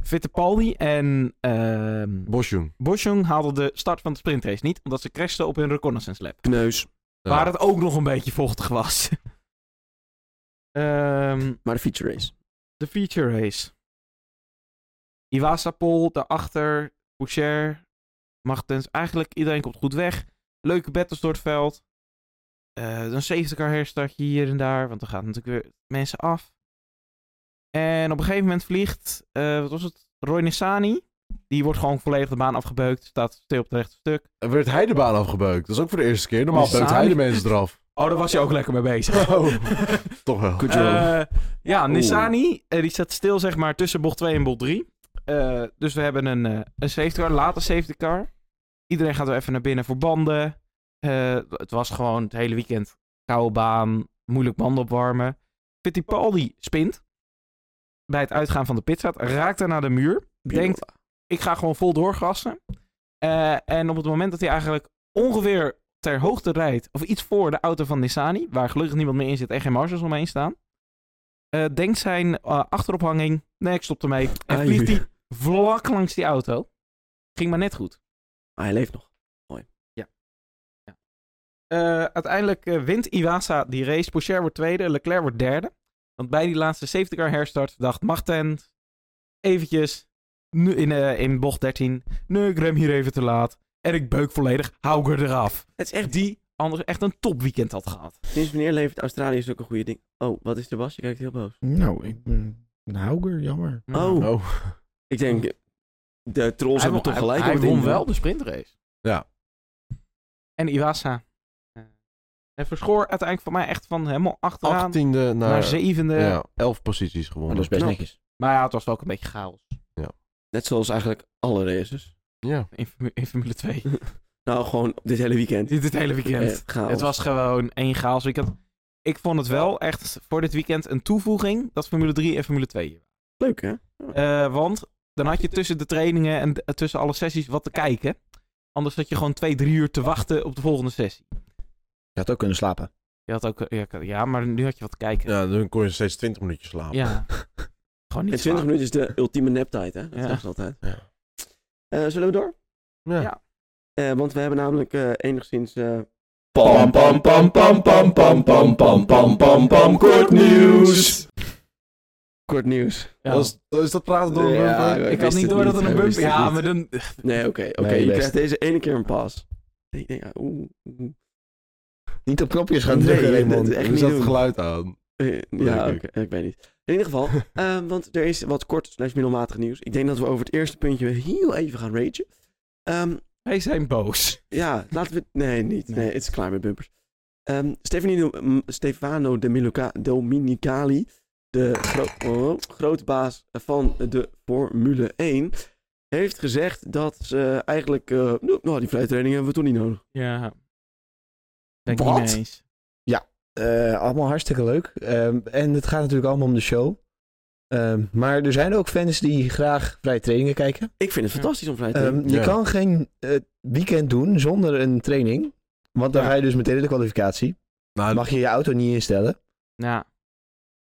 Speaker 4: Fittipaldi en ehm
Speaker 2: Bosjoen.
Speaker 4: Boschung haalden de start van de sprintrace niet, omdat ze crashten op hun reconnaissance lap.
Speaker 1: Kneus.
Speaker 2: Ja.
Speaker 4: Waar het ook nog een beetje vochtig was. *laughs* Ehm,
Speaker 1: Maar de feature race.
Speaker 4: de feature race. Iwasapol, daarachter, Boucher, Magtens. Eigenlijk iedereen komt goed weg. Leuke battles door het veld. Eh een safety car herstartje hier en daar, want er gaan natuurlijk weer mensen af. En op een gegeven moment vliegt, eh, wat was het, Roy Nissani. Die wordt gewoon volledig de baan afgebeukt, staat stil op het rechte stuk.
Speaker 2: En werd hij de baan afgebeukt. Dat is ook voor de eerste keer. Normaal
Speaker 4: Samen.
Speaker 2: beukt hij de mensen eraf.
Speaker 4: Oh, daar was hij ook lekker mee bezig. *laughs*
Speaker 2: Oh, toch wel.
Speaker 1: Goed job.
Speaker 4: Eh, ja, Nissani, eh, die staat stil zeg maar tussen bocht 2 en bocht 3. Eh, dus we hebben een, eh, een safety car, later safety car. Iedereen gaat weer even naar binnen voor banden. Eh, het was gewoon het hele weekend koude baan, moeilijk banden opwarmen. Fittipaldi spint bij het uitgaan van de pitstraat, raakt daarna de muur. Denkt, ik ga gewoon vol doorgassen. Eh, en op het moment dat hij eigenlijk ongeveer ter hoogte rijdt, of iets voor de auto van Nissani, waar gelukkig niemand meer in zit en geen marges omheen staan, eh, denkt zijn eh, achterophanging, nee, ik stop ermee, en
Speaker 1: Ai.
Speaker 4: vliegt hij vlak langs die auto. Ging maar net goed.
Speaker 1: Ah, hij leeft nog.
Speaker 4: Eh, uiteindelijk eh, wint Iwasa die race. Pocher wordt tweede, Leclerc wordt derde. Want bij die laatste safety car herstart dacht Machten eventjes nu in, eh, in bocht 13. Nee, ik rem hier even te laat. En ik beuk volledig Hauger eraf.
Speaker 1: Het is echt
Speaker 4: Die anders echt een topweekend had gehad.
Speaker 1: Sinds wanneer levert Australië zulke goede dingen? Oh, wat is er was? Je kijkt heel boos.
Speaker 3: Nou, ik ben een houger, jammer.
Speaker 1: Oh.
Speaker 2: Oh.
Speaker 1: Ik denk, de trolls hebben
Speaker 4: Hij won-
Speaker 1: toch
Speaker 4: hij-
Speaker 1: gelijk.
Speaker 4: Hij
Speaker 1: op het
Speaker 4: won
Speaker 1: internet.
Speaker 4: wel de sprintrace.
Speaker 2: Ja.
Speaker 4: En Iwasa. eh, En verschoor uiteindelijk voor mij echt van helemaal achteraan
Speaker 2: 18e naar,
Speaker 4: naar zevende.
Speaker 2: ja, 11 posities gewonnen.
Speaker 3: Oh, dat is best
Speaker 1: knap.
Speaker 3: netjes.
Speaker 4: Maar ja, het was wel ook een beetje chaos
Speaker 1: Net zoals eigenlijk alle races.
Speaker 2: Ja.
Speaker 4: in, Formu- in Formule 2.
Speaker 1: Nou, gewoon dit hele weekend.
Speaker 4: *laughs* dit, dit hele weekend.
Speaker 1: Echt chaos.
Speaker 4: Het was gewoon één chaos weekend. Ik vond het wel echt voor dit weekend een toevoeging dat Formule 3 en Formule 2 hier waren.
Speaker 1: leuk, hè?
Speaker 4: Eh, want dan had je tussen de trainingen en d- tussen alle sessies wat te kijken. Anders zat je gewoon twee, drie uur te wachten op de volgende sessie.
Speaker 3: Je had ook kunnen slapen.
Speaker 4: Je had ook, eh, ja, ik- ja, maar nu had je wat te kijken.
Speaker 2: ja, dan kon je steeds 20 minuutjes slapen.
Speaker 4: Ja. Gewoon
Speaker 1: En
Speaker 4: niet
Speaker 1: 20
Speaker 4: slapen.
Speaker 1: minuten is de ultieme neptijd, hè? Dat
Speaker 4: Ja.
Speaker 1: zeggen ze altijd.
Speaker 2: Ja.
Speaker 1: Eh, zullen we door?
Speaker 2: Ja.
Speaker 4: Ja.
Speaker 1: Eh, want we hebben namelijk eh, enigszins eh,
Speaker 5: Pam pam pam pam pam pam pam pam pam pam pam kort nieuws.
Speaker 1: Kort nieuws.
Speaker 4: Ja.
Speaker 2: Dat is, dat is dat praten door een
Speaker 1: Ja,
Speaker 2: bumper?
Speaker 1: ik
Speaker 4: ik
Speaker 1: wist
Speaker 4: had niet
Speaker 1: het
Speaker 4: door dat
Speaker 1: niet,
Speaker 4: er een
Speaker 1: ik
Speaker 4: bump...
Speaker 1: wist het
Speaker 4: Ja,
Speaker 1: niet.
Speaker 4: maar dan...
Speaker 1: Nee, oké. oké.
Speaker 3: Nee,
Speaker 1: je
Speaker 3: best.
Speaker 1: krijgt deze ene keer een pas. Ik denk, ja, oeh. oeh.
Speaker 3: Niet op knopjes gaan
Speaker 1: Nee,
Speaker 3: drukken,
Speaker 1: dat-
Speaker 3: Raymond.
Speaker 1: echt
Speaker 2: Hoe
Speaker 1: niet
Speaker 2: zat
Speaker 1: doen.
Speaker 2: het geluid aan?
Speaker 1: Eh, Ja,
Speaker 2: Leuk,
Speaker 1: oké. Ik weet niet. In ieder geval, ehm, want er is wat kort slash middelmatig nieuws. Ik denk dat we over het eerste puntje heel even gaan ragen. Ehm,
Speaker 4: Wij zijn boos.
Speaker 1: ja, laten we... Nee, niet.
Speaker 4: Nee.
Speaker 1: Nee, het is klaar met bumpers. Ehm, Stefanie, mm, Stefano de Miluca- Dominicali, de gro oh, grootbaas van de Formule 1, heeft gezegd dat ze eigenlijk... eh, nou, nou, die vrije training hebben we toch niet nodig.
Speaker 4: Ja. Ben
Speaker 1: Wat?
Speaker 4: niet mee eens.
Speaker 3: Eh, allemaal hartstikke leuk. Ehm, en het gaat natuurlijk allemaal om de show. Ehm, maar er zijn ook fans die graag vrije trainingen kijken.
Speaker 1: Ik vind het
Speaker 4: Ja.
Speaker 1: fantastisch om vrije training.
Speaker 3: Ehm, je
Speaker 2: Ja.
Speaker 3: kan geen eh, weekend doen zonder een training. Want dan
Speaker 4: Ja.
Speaker 3: ga je dus meteen in de kwalificatie.
Speaker 2: Nou,
Speaker 3: Mag je je auto niet instellen.
Speaker 4: Ja.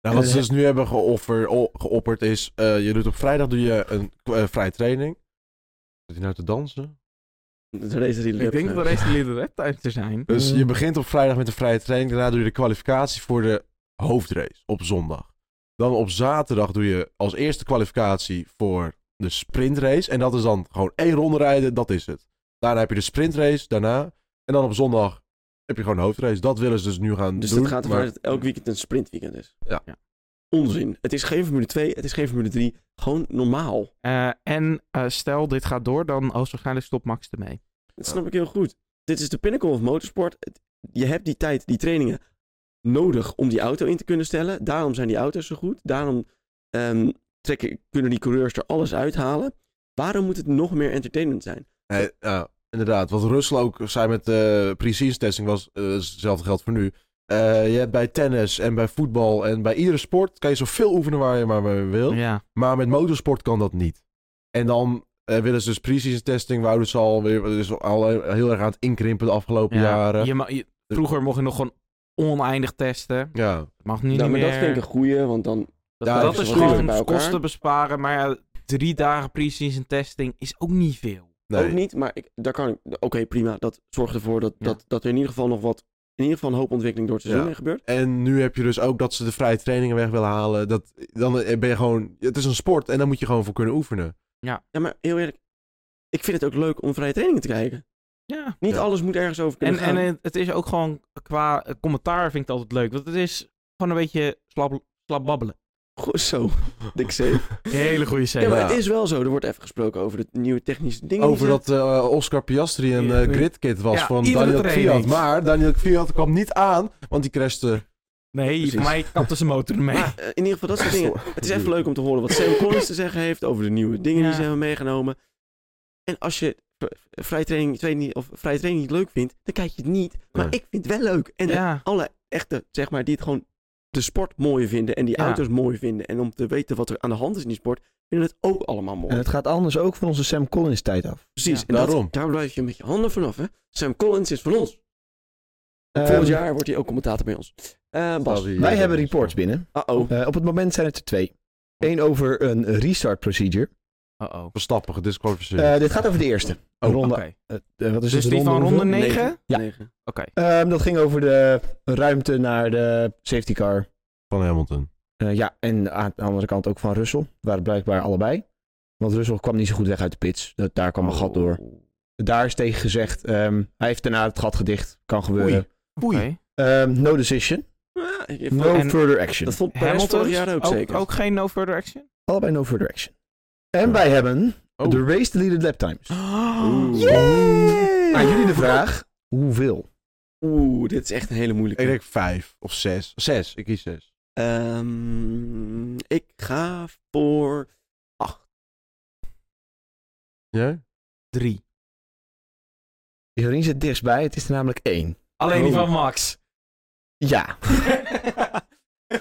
Speaker 2: nou, wat
Speaker 3: en-
Speaker 2: ze dus nu hebben geoffer, o- geopperd is... eh, je doet op vrijdag doe je een eh, vrije training. Zit hij nou te dansen?
Speaker 1: de race die eh,
Speaker 4: Ik denk dat de race die de tijd te zijn.
Speaker 2: Dus
Speaker 3: Mm.
Speaker 2: je begint op vrijdag met de vrije training. Daarna doe je de kwalificatie voor de hoofdrace op zondag. Dan op zaterdag doe je als eerste kwalificatie voor de sprintrace. En dat is dan gewoon één ronde rijden, dat is het. Daarna heb je de sprintrace, daarna. En dan op zondag heb je gewoon de hoofdrace. Dat willen ze dus nu gaan
Speaker 1: Dus
Speaker 2: doen.
Speaker 1: dat gaat ervan
Speaker 2: maar-
Speaker 1: uit dat elk weekend een sprintweekend is.
Speaker 2: Ja.
Speaker 4: Ja.
Speaker 1: Onzin. Het is geen Formule 2, het is geen Formule 3. Gewoon normaal.
Speaker 4: Eh, en eh, stel dit gaat door, dan hoogstwaarschijnlijk stopt Max ermee.
Speaker 1: Dat snap ik heel goed. Dit is de pinnacle of motorsport. Het- Je hebt die tijd, die trainingen nodig om die auto in te kunnen stellen. Daarom zijn die auto's zo goed. Daarom ehm, trekken, kunnen die coureurs er alles uithalen. Waarom moet het nog meer entertainment zijn?
Speaker 2: Nee, ja, inderdaad. Wat Russell ook zei met eh precision testing was, eh, is hetzelfde geldt voor nu. Eh, je hebt bij tennis en bij voetbal en bij iedere sport kan je zoveel oefenen waar je maar mee wil.
Speaker 1: Oh,
Speaker 4: Ja.
Speaker 2: Maar met motorsport kan dat niet. En dan eh, willen ze dus precision testing, wouden ze al weer, is al heel erg aan het inkrimpen de afgelopen jaren.
Speaker 4: Je ma- je- vroeger mocht je nog gewoon oneindig testen.
Speaker 2: Ja.
Speaker 4: Mag nu
Speaker 1: nou, maar
Speaker 4: niet meer.
Speaker 1: dat vind ik een goeie, want dan...
Speaker 4: Dat,
Speaker 2: Ja,
Speaker 4: dat
Speaker 2: dat
Speaker 4: is
Speaker 2: is wel
Speaker 1: duurder bij
Speaker 4: gewoon
Speaker 1: elkaar.
Speaker 4: kosten besparen. Maar ja, drie dagen pre-season testing is ook niet veel.
Speaker 2: Nee.
Speaker 1: Ook niet, maar ik, daar kan ik... Oké, prima. Dat zorgt ervoor dat,
Speaker 4: Ja.
Speaker 1: dat, dat er in ieder geval nog wat... In ieder geval een hoop ontwikkeling door het seizoen
Speaker 2: Ja.
Speaker 1: heen gebeurt.
Speaker 2: En nu heb je dus ook dat ze de vrije trainingen weg willen halen. Dat, dan eh, ben je gewoon, het is een sport en daar moet je gewoon voor kunnen oefenen.
Speaker 1: Ja, maar heel eerlijk. Ik vind het ook leuk om vrije trainingen te kijken.
Speaker 4: Ja.
Speaker 1: Niet
Speaker 2: Ja.
Speaker 1: alles moet ergens over kunnen
Speaker 4: En,
Speaker 1: gaan.
Speaker 4: en het- het is ook gewoon qua eh, commentaar vind ik het altijd leuk. Want het is gewoon een beetje slap, slap babbelen.
Speaker 1: Goed
Speaker 2: *laughs*
Speaker 1: zo, dik zeef.
Speaker 4: Hele goede scène.
Speaker 1: Ja, maar
Speaker 2: Ja.
Speaker 1: het is wel zo. Er wordt even gesproken over de nieuwe technische dingen. die
Speaker 2: Over
Speaker 1: ze-
Speaker 2: dat eh, Oscar Piastri een
Speaker 4: Ja.
Speaker 2: eh, gridkit was
Speaker 4: Ja,
Speaker 2: van
Speaker 4: iedere
Speaker 2: Daniel
Speaker 4: training.
Speaker 2: Kvyat. Maar Daniel Kvyat kwam niet aan, want die crashte.
Speaker 4: nee,
Speaker 1: Precies.
Speaker 4: voor mij kapte zijn motor ermee.
Speaker 1: Maar, eh, in ieder geval dat
Speaker 2: *laughs*
Speaker 1: soort dingen. Het is echt leuk om te horen wat Sam Collins te zeggen heeft over de nieuwe dingen die
Speaker 4: Ja.
Speaker 1: ze hebben meegenomen. En als je v- vrije training, twee niet, of vrije training niet leuk vindt, dan kijk je het niet. Maar
Speaker 2: Nee.
Speaker 1: ik vind het wel leuk. En de
Speaker 4: ja.
Speaker 1: alle echte, zeg maar, die het gewoon de sport mooi vinden en die
Speaker 4: Ja.
Speaker 1: auto's mooi vinden. En om te weten wat er aan de hand is in die sport, vinden het ook allemaal mooi.
Speaker 3: En het gaat anders ook van onze Sam Collins tijd af.
Speaker 1: Precies,
Speaker 4: Ja,
Speaker 1: en dat-
Speaker 2: daarom.
Speaker 1: daar blijf je met je handen vanaf, hè? Sam Collins is van ons.
Speaker 3: Ehm,
Speaker 1: Volgend jaar wordt hij ook commentator bij ons. Eh Bas,
Speaker 3: Wij hebben reports binnen.
Speaker 1: uh-oh.
Speaker 3: Eh, op het moment zijn het er twee. Eén over een restart procedure.
Speaker 4: Uh-oh.
Speaker 2: Verstappen, gedisqualificeerd.
Speaker 3: Eh, dit gaat over de eerste.
Speaker 2: Oh,
Speaker 3: ronde.
Speaker 4: Oké.
Speaker 3: eh, wat is
Speaker 4: Dus
Speaker 3: het,
Speaker 4: die van ronde
Speaker 3: hoeveel?
Speaker 4: 9?
Speaker 1: Negen.
Speaker 4: Oké.
Speaker 3: Ja. Ehm, dat ging over de ruimte naar de safety car.
Speaker 2: Van Hamilton.
Speaker 3: Eh, ja, en aan de andere kant ook van Russell. Het waren blijkbaar allebei. Want Russell kwam niet zo goed weg uit de pits. Dat, daar kwam een
Speaker 2: Oh.
Speaker 3: gat door. Daar is tegen gezegd, ehm, hij heeft daarna het gat gedicht. Kan gebeuren.
Speaker 2: Oei.
Speaker 4: Oké.
Speaker 3: Ehm, no decision,
Speaker 1: Ah, ik-
Speaker 3: no
Speaker 4: En-
Speaker 3: further action.
Speaker 1: dat vond Perez
Speaker 4: Hamilton
Speaker 1: vorig jaar ook, zeker.
Speaker 4: Ook geen no further action?
Speaker 3: Allebei no further action. En
Speaker 2: Ja.
Speaker 3: wij hebben
Speaker 2: Oh.
Speaker 3: de race deleted lap times.
Speaker 4: Oh, *gasps*
Speaker 1: Oeh.
Speaker 3: Aan jullie de vraag, hoeveel?
Speaker 1: Oeh, dit is echt een hele moeilijke.
Speaker 2: Ik denk vijf of zes. Zes, ik kies zes.
Speaker 1: Ehm, ik ga voor...
Speaker 2: Jij?
Speaker 4: Drie.
Speaker 3: Jorien zit dichtstbij, het is er namelijk één.
Speaker 4: Alleen
Speaker 1: die
Speaker 4: die
Speaker 1: van
Speaker 4: van
Speaker 1: *laughs*
Speaker 4: Max.
Speaker 3: Ja,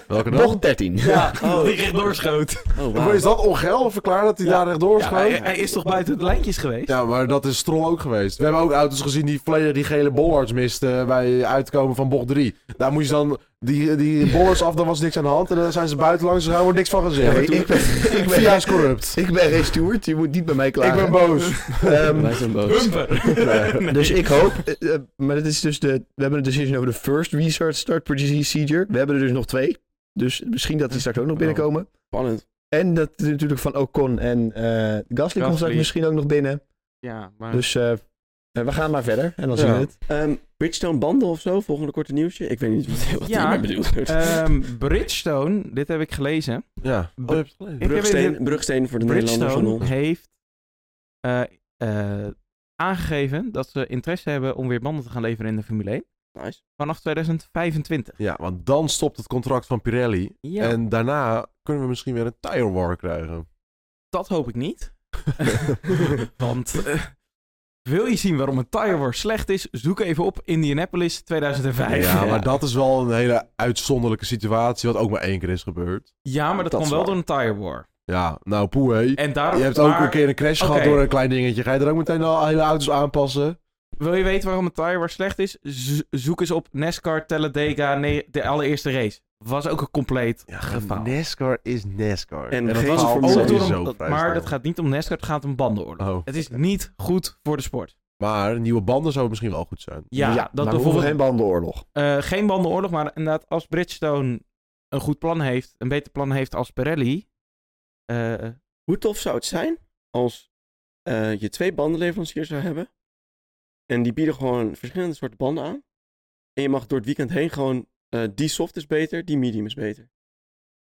Speaker 2: Welke dan?
Speaker 3: nog 13.
Speaker 5: *laughs*
Speaker 4: ja,
Speaker 1: Oh.
Speaker 4: die ging doorschoot.
Speaker 1: Oh,
Speaker 2: Maar Is dat ongeil verklaar dat hij daar rechtdoor
Speaker 4: Ja, hij,
Speaker 2: schoot?
Speaker 4: hij is toch buiten het lijntjes geweest?
Speaker 2: Ja, maar dat is Stroll ook geweest. We hebben ook auto's gezien die volledig die gele bollards misten bij uitkomen van bocht 3. Daar moest je dan Die, die bolletjes af, dan was niks aan de hand. En dan zijn ze buiten langs gegaan, wordt niks van gezegd.
Speaker 5: Nee,
Speaker 2: En toen-
Speaker 5: ik ben- ik ben-
Speaker 2: Via is corrupt.
Speaker 5: Ik ben geen steward, je moet niet bij mij
Speaker 2: Ik
Speaker 5: klagen.
Speaker 2: ben boos.
Speaker 5: Ehm,
Speaker 1: Wij zijn boos.
Speaker 4: Bumper.
Speaker 5: Dus ik hoop, eh, eh, maar dit is dus de, we hebben een decision over de first research start procedure. We hebben er dus nog twee. Dus misschien dat die straks ook nog binnenkomen.
Speaker 1: Spannend.
Speaker 5: En dat is natuurlijk van Ocon en eh Gasly, komt straks
Speaker 4: Gasly.
Speaker 5: misschien ook nog binnen.
Speaker 4: Ja, maar...
Speaker 5: Dus eh, eh, we gaan maar verder en dan zien we
Speaker 2: Ja.
Speaker 5: het.
Speaker 1: Ehm, Bridgestone banden of zo, volgende korte nieuwsje. Ik weet niet wat, wat
Speaker 4: Ja.
Speaker 1: hiermee bedoeld wordt.
Speaker 4: Ehm, Bridgestone, dit heb ik gelezen.
Speaker 2: Ja.
Speaker 4: Oh, je hebt Ik heb
Speaker 1: Brugsteen,
Speaker 4: even-
Speaker 1: brugsteen voor de Nederlanders van
Speaker 4: Bridgestone
Speaker 1: ons.
Speaker 4: heeft eh, eh, aangegeven dat ze interesse hebben om weer banden te gaan leveren in de Formule 1
Speaker 1: Nice.
Speaker 4: vanaf 2025.
Speaker 2: ja, want dan stopt het contract van Pirelli.
Speaker 4: Ja,
Speaker 2: En daarna kunnen we misschien weer een tire war *laughs* krijgen.
Speaker 4: dat hoop ik niet. Want *laughs* eh, wil je zien waarom een tire war slecht is, zoek even op Indianapolis 2005.
Speaker 2: Ja,
Speaker 4: Ja,
Speaker 2: maar dat is wel een hele uitzonderlijke situatie, wat ook maar één keer is gebeurd.
Speaker 4: maar dat,
Speaker 1: Dat
Speaker 4: kwam
Speaker 1: is
Speaker 4: wel
Speaker 1: waar.
Speaker 4: door een tire war.
Speaker 2: Ja, nou poe hé.
Speaker 4: En daarom,
Speaker 2: Je hebt ook
Speaker 4: Eh, maar
Speaker 2: een keer een crash
Speaker 4: Oké.
Speaker 2: gehad door een klein dingetje. Ga je er ook meteen al hele auto's aanpassen?
Speaker 4: Wil je weten waarom een tire war slecht is? Z- zoek eens op NASCAR Talladega, nee, de allereerste race. Was ook een compleet gefaald.
Speaker 2: NASCAR is NASCAR.
Speaker 1: En
Speaker 2: dat
Speaker 1: geen
Speaker 2: faalt
Speaker 1: Formule
Speaker 4: Ook
Speaker 1: Sowieso
Speaker 4: door
Speaker 2: sowieso
Speaker 4: een, dat-
Speaker 2: vrij
Speaker 4: Oh, maar
Speaker 2: snel.
Speaker 4: dat gaat niet om NASCAR, het gaat om bandenoorlog.
Speaker 2: Oh.
Speaker 4: Het is niet goed voor de sport.
Speaker 2: Maar nieuwe banden zouden misschien wel goed zijn.
Speaker 4: Ja, dat
Speaker 5: maar we hoeven
Speaker 4: bijvoorbeeld
Speaker 5: geen
Speaker 4: geen,
Speaker 5: bandenoorlog.
Speaker 4: geen bandenoorlog, maar inderdaad als Bridgestone een goed plan heeft, een beter plan heeft als Pirelli, eh,
Speaker 1: Hoe tof zou het zijn als eh, je twee bandenleveranciers zou hebben. En die bieden gewoon verschillende soorten banden aan. En je mag door het weekend heen gewoon, eh, die soft is beter, die medium is beter.
Speaker 2: Ik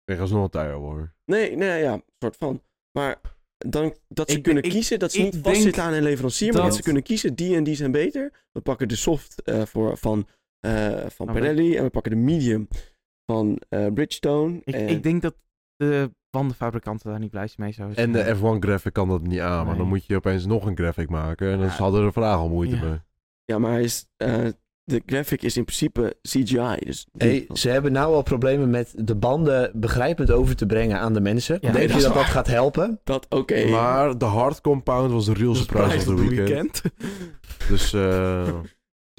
Speaker 2: krijg alsnog een tire war.
Speaker 1: Nee, nee, ja, soort van. Maar dan, dat ze
Speaker 4: Ik-
Speaker 1: kunnen
Speaker 4: ik-
Speaker 1: kiezen, dat ze
Speaker 4: ik
Speaker 1: niet
Speaker 4: denk
Speaker 1: vastzitten aan een leverancier, maar dat
Speaker 4: dat-
Speaker 1: ze kunnen kiezen, die en die zijn beter. We pakken de soft eh, voor, van, eh van
Speaker 4: maar-
Speaker 1: Pirelli en we pakken de medium van eh, Bridgestone.
Speaker 4: ik,
Speaker 1: en-
Speaker 4: ik denk dat de bandenfabrikanten daar niet blij mee zouden zijn.
Speaker 2: En de F1 graphic kan dat niet aan, maar
Speaker 4: Nee.
Speaker 2: dan moet je opeens nog een graphic maken. En dan
Speaker 4: Ja.
Speaker 2: hadden er vandaag al moeite
Speaker 4: Ja.
Speaker 2: mee.
Speaker 1: Ja, maar hij is, eh, de graphic is in principe CGI. Dus
Speaker 5: Hey, ze hebben nou al problemen met de banden begrijpend over te brengen aan de mensen.
Speaker 4: Ja.
Speaker 5: Denk
Speaker 1: Nee,
Speaker 5: je
Speaker 1: dat
Speaker 5: dat
Speaker 1: is
Speaker 5: dat,
Speaker 1: waar.
Speaker 5: gaat helpen?
Speaker 1: dat oké.
Speaker 2: Maar de hard compound was de real surprise van de weekend. Dus eh,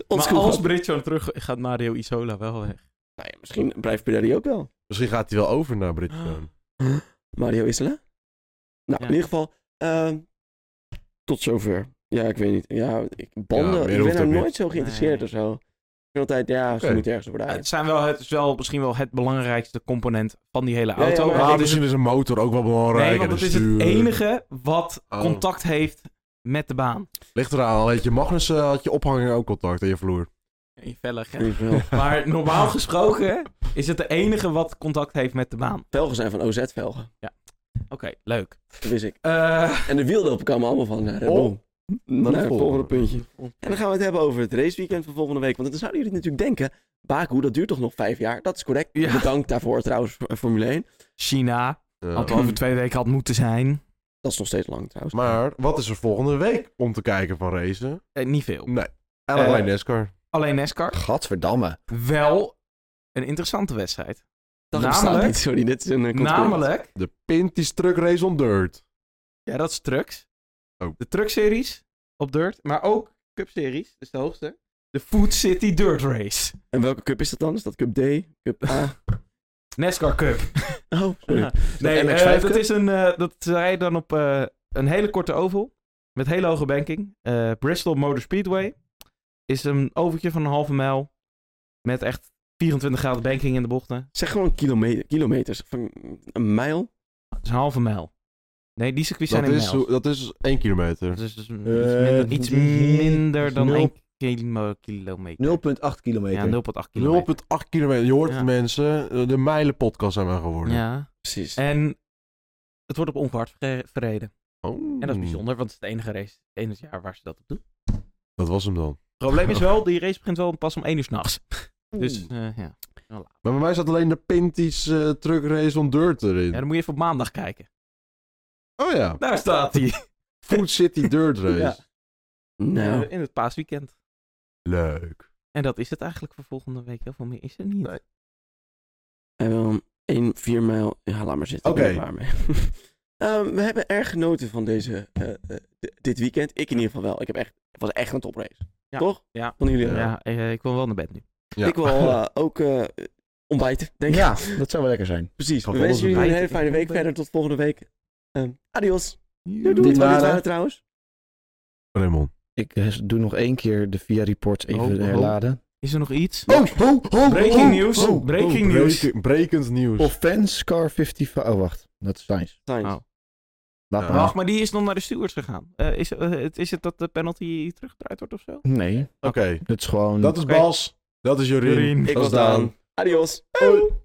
Speaker 1: Ons
Speaker 4: maar als Bridgestone terug gaat Mario Isola wel weg.
Speaker 1: Nou ja, misschien blijft Pirelli ook wel.
Speaker 2: misschien gaat hij wel over naar
Speaker 4: Ah.
Speaker 2: Bridgestone.
Speaker 1: Mario Isola? Nou, in
Speaker 4: Ja.
Speaker 1: ieder geval, ehm, tot zover. Ja, ik weet niet. Ja, ik,
Speaker 2: Ja,
Speaker 1: banden,
Speaker 2: meer
Speaker 1: ik
Speaker 2: hoeft
Speaker 1: ben er
Speaker 2: ook
Speaker 1: nooit
Speaker 2: niet.
Speaker 1: zo geïnteresseerd
Speaker 4: Nee.
Speaker 1: of zo. Ik vind altijd, ja, ze
Speaker 2: Oké.
Speaker 1: moeten ergens worden
Speaker 4: Het,
Speaker 1: uit.
Speaker 4: zijn wel, het is wel misschien wel het belangrijkste component van die hele
Speaker 1: Ja, ja,
Speaker 4: auto.
Speaker 1: maar-
Speaker 4: Want
Speaker 2: Maar
Speaker 4: het is
Speaker 2: misschien is een motor ook wel belangrijk.
Speaker 4: Nee,
Speaker 2: en
Speaker 4: want
Speaker 2: een
Speaker 4: het is het
Speaker 2: stuur.
Speaker 4: enige wat
Speaker 2: Oh.
Speaker 4: contact heeft met de baan.
Speaker 2: Ligt eraan, had je Magnussen had je ophanger ook contact aan je vloer.
Speaker 4: Je vellig,
Speaker 1: In ieder geval.
Speaker 4: Maar normaal gesproken is het de enige wat contact heeft met de baan.
Speaker 1: Velgen zijn van OZ-velgen.
Speaker 4: Oké, leuk.
Speaker 1: Dat wist ik.
Speaker 4: Eh,
Speaker 1: En de wieldopen kwamen allemaal van eh, Red
Speaker 2: Oh,
Speaker 1: Bull. Naar het
Speaker 2: volgende.
Speaker 1: volgende puntje. En dan gaan we het hebben over het raceweekend van volgende week. Want dan zouden jullie natuurlijk denken... Baku, dat duurt toch nog vijf jaar? Dat is correct.
Speaker 4: Ja.
Speaker 1: Bedankt daarvoor trouwens, eh, Formule 1.
Speaker 4: China,
Speaker 2: Ja.
Speaker 4: wat over twee weken had moeten zijn.
Speaker 1: Dat is nog steeds lang trouwens.
Speaker 2: Maar wat is er volgende week om te kijken van racen?
Speaker 4: Eh, niet veel.
Speaker 2: Nee. Alleen
Speaker 4: Eh,
Speaker 2: alleen NASCAR.
Speaker 4: Alleen NASCAR,
Speaker 5: Gadverdamme.
Speaker 4: wel een interessante wedstrijd.
Speaker 1: dat bestaat
Speaker 4: namelijk,
Speaker 1: niet. *laughs* Sorry, dit is een eh, conspiratie.
Speaker 4: namelijk,
Speaker 2: De Pinty's Truck Race on Dirt.
Speaker 4: ja dat is trucks.
Speaker 2: Oh.
Speaker 4: De truckseries op dirt, maar ook cupseries, dus de hoogste. De Food City Dirt Race.
Speaker 1: En welke cup is dat dan? Is dat cup D? Cup A?
Speaker 4: NASCAR Cup.
Speaker 1: Oh, sorry.
Speaker 4: Ja. Nee,
Speaker 5: NX5
Speaker 4: eh,
Speaker 5: Cup?
Speaker 4: dat is een. eh, dat rijden dan op eh, een hele korte oval. Met hele hoge banking. Eh, Bristol Motor Speedway. Is een overtje van een halve mijl. Met echt 24 graden banking in de bochten.
Speaker 1: Zeg gewoon kilometer, kilometers. Van een mijl.
Speaker 4: Dat is een halve mijl. Nee, die circuits
Speaker 2: Dat
Speaker 4: zijn in
Speaker 2: is,
Speaker 4: mijl.
Speaker 2: hoe- dat is 1 kilometer.
Speaker 4: Dat is dus een-
Speaker 5: Eh,
Speaker 4: iets minder, iets
Speaker 5: die-
Speaker 4: minder dan
Speaker 5: nul-
Speaker 4: 1 kilo, kilometer.
Speaker 5: 0,8 kilometer.
Speaker 4: Ja, 0,8 kilometer.
Speaker 2: 0,8 kilometer. Je hoort
Speaker 4: Ja.
Speaker 2: het mensen. Eh, De mijlenpodcast zijn we geworden.
Speaker 4: Ja.
Speaker 1: Precies.
Speaker 4: En het wordt op onkwart verre- verreden.
Speaker 2: Oh.
Speaker 4: En dat is bijzonder, want het is de enige race in het jaar waar ze dat op doen.
Speaker 2: Dat was hem dan.
Speaker 4: Probleem *laughs* is wel, die race begint wel pas om 1 uur s'nachts. Dus eh, ja.
Speaker 2: Maar bij mij zat alleen de Pinty's eh, Truck Race on Dirt erin.
Speaker 4: ja, dan moet je even op maandag kijken.
Speaker 2: Oh ja.
Speaker 4: Daar staat *laughs* hij.
Speaker 2: Food City Dirt Race.
Speaker 4: *laughs* Ja.
Speaker 1: nou,
Speaker 4: In het paasweekend.
Speaker 2: Leuk.
Speaker 4: En dat is het eigenlijk voor volgende week. Heel veel meer is er niet.
Speaker 2: Nee.
Speaker 4: eh,
Speaker 1: en wel een 4 mijl. Ja, laat maar zitten.
Speaker 2: Oké.
Speaker 1: Ik ben er klaar mee. *laughs* Ehm, we hebben erg genoten van deze, eh, eh, d- dit weekend. Ik in ieder geval wel. Ik heb echt, het was echt een toprace.
Speaker 4: Ja.
Speaker 1: Toch?
Speaker 4: Ja. eh,
Speaker 1: Van jullie.
Speaker 4: *laughs* Ja, eh, ik wil wel naar bed nu.
Speaker 2: Ja.
Speaker 1: Ik wil eh, ook eh, ontbijt, denk ik.
Speaker 3: Ja, dat zou wel lekker zijn.
Speaker 1: Precies. We
Speaker 2: Gewoon
Speaker 1: wensen jullie een
Speaker 4: ontbijten.
Speaker 1: hele fijne week verder. Tot volgende week. Ehm, adios. Doei, doei.
Speaker 3: Dit
Speaker 1: Dit
Speaker 3: waren-
Speaker 1: waren trouwens.
Speaker 2: Raymond.
Speaker 3: Ik eh, doe nog één keer de VIA reports even
Speaker 4: Oh, oh.
Speaker 3: herladen.
Speaker 4: Is er nog iets?
Speaker 3: Oh, oh, oh,
Speaker 4: Breaking news. Oh, breaking news.
Speaker 2: breken- Brekend nieuws.
Speaker 3: Offense car 55. Oh, wacht. Dat is Sainz.
Speaker 1: Sainz.
Speaker 4: Oh.
Speaker 3: Laat
Speaker 2: Ja.
Speaker 3: maar.
Speaker 4: Wacht, maar die is nog naar de stewards gegaan. Eh, is, eh, het- is het dat de penalty teruggedraaid wordt of zo?
Speaker 3: Nee,
Speaker 2: Oké,
Speaker 3: dat is gewoon...
Speaker 2: dat is
Speaker 4: Oké.
Speaker 2: Bas. Dat is Jorien.
Speaker 4: Jorien.
Speaker 1: Ik
Speaker 2: Dat
Speaker 1: was
Speaker 2: is Daan.
Speaker 1: Daan. Adios.
Speaker 2: Hoi.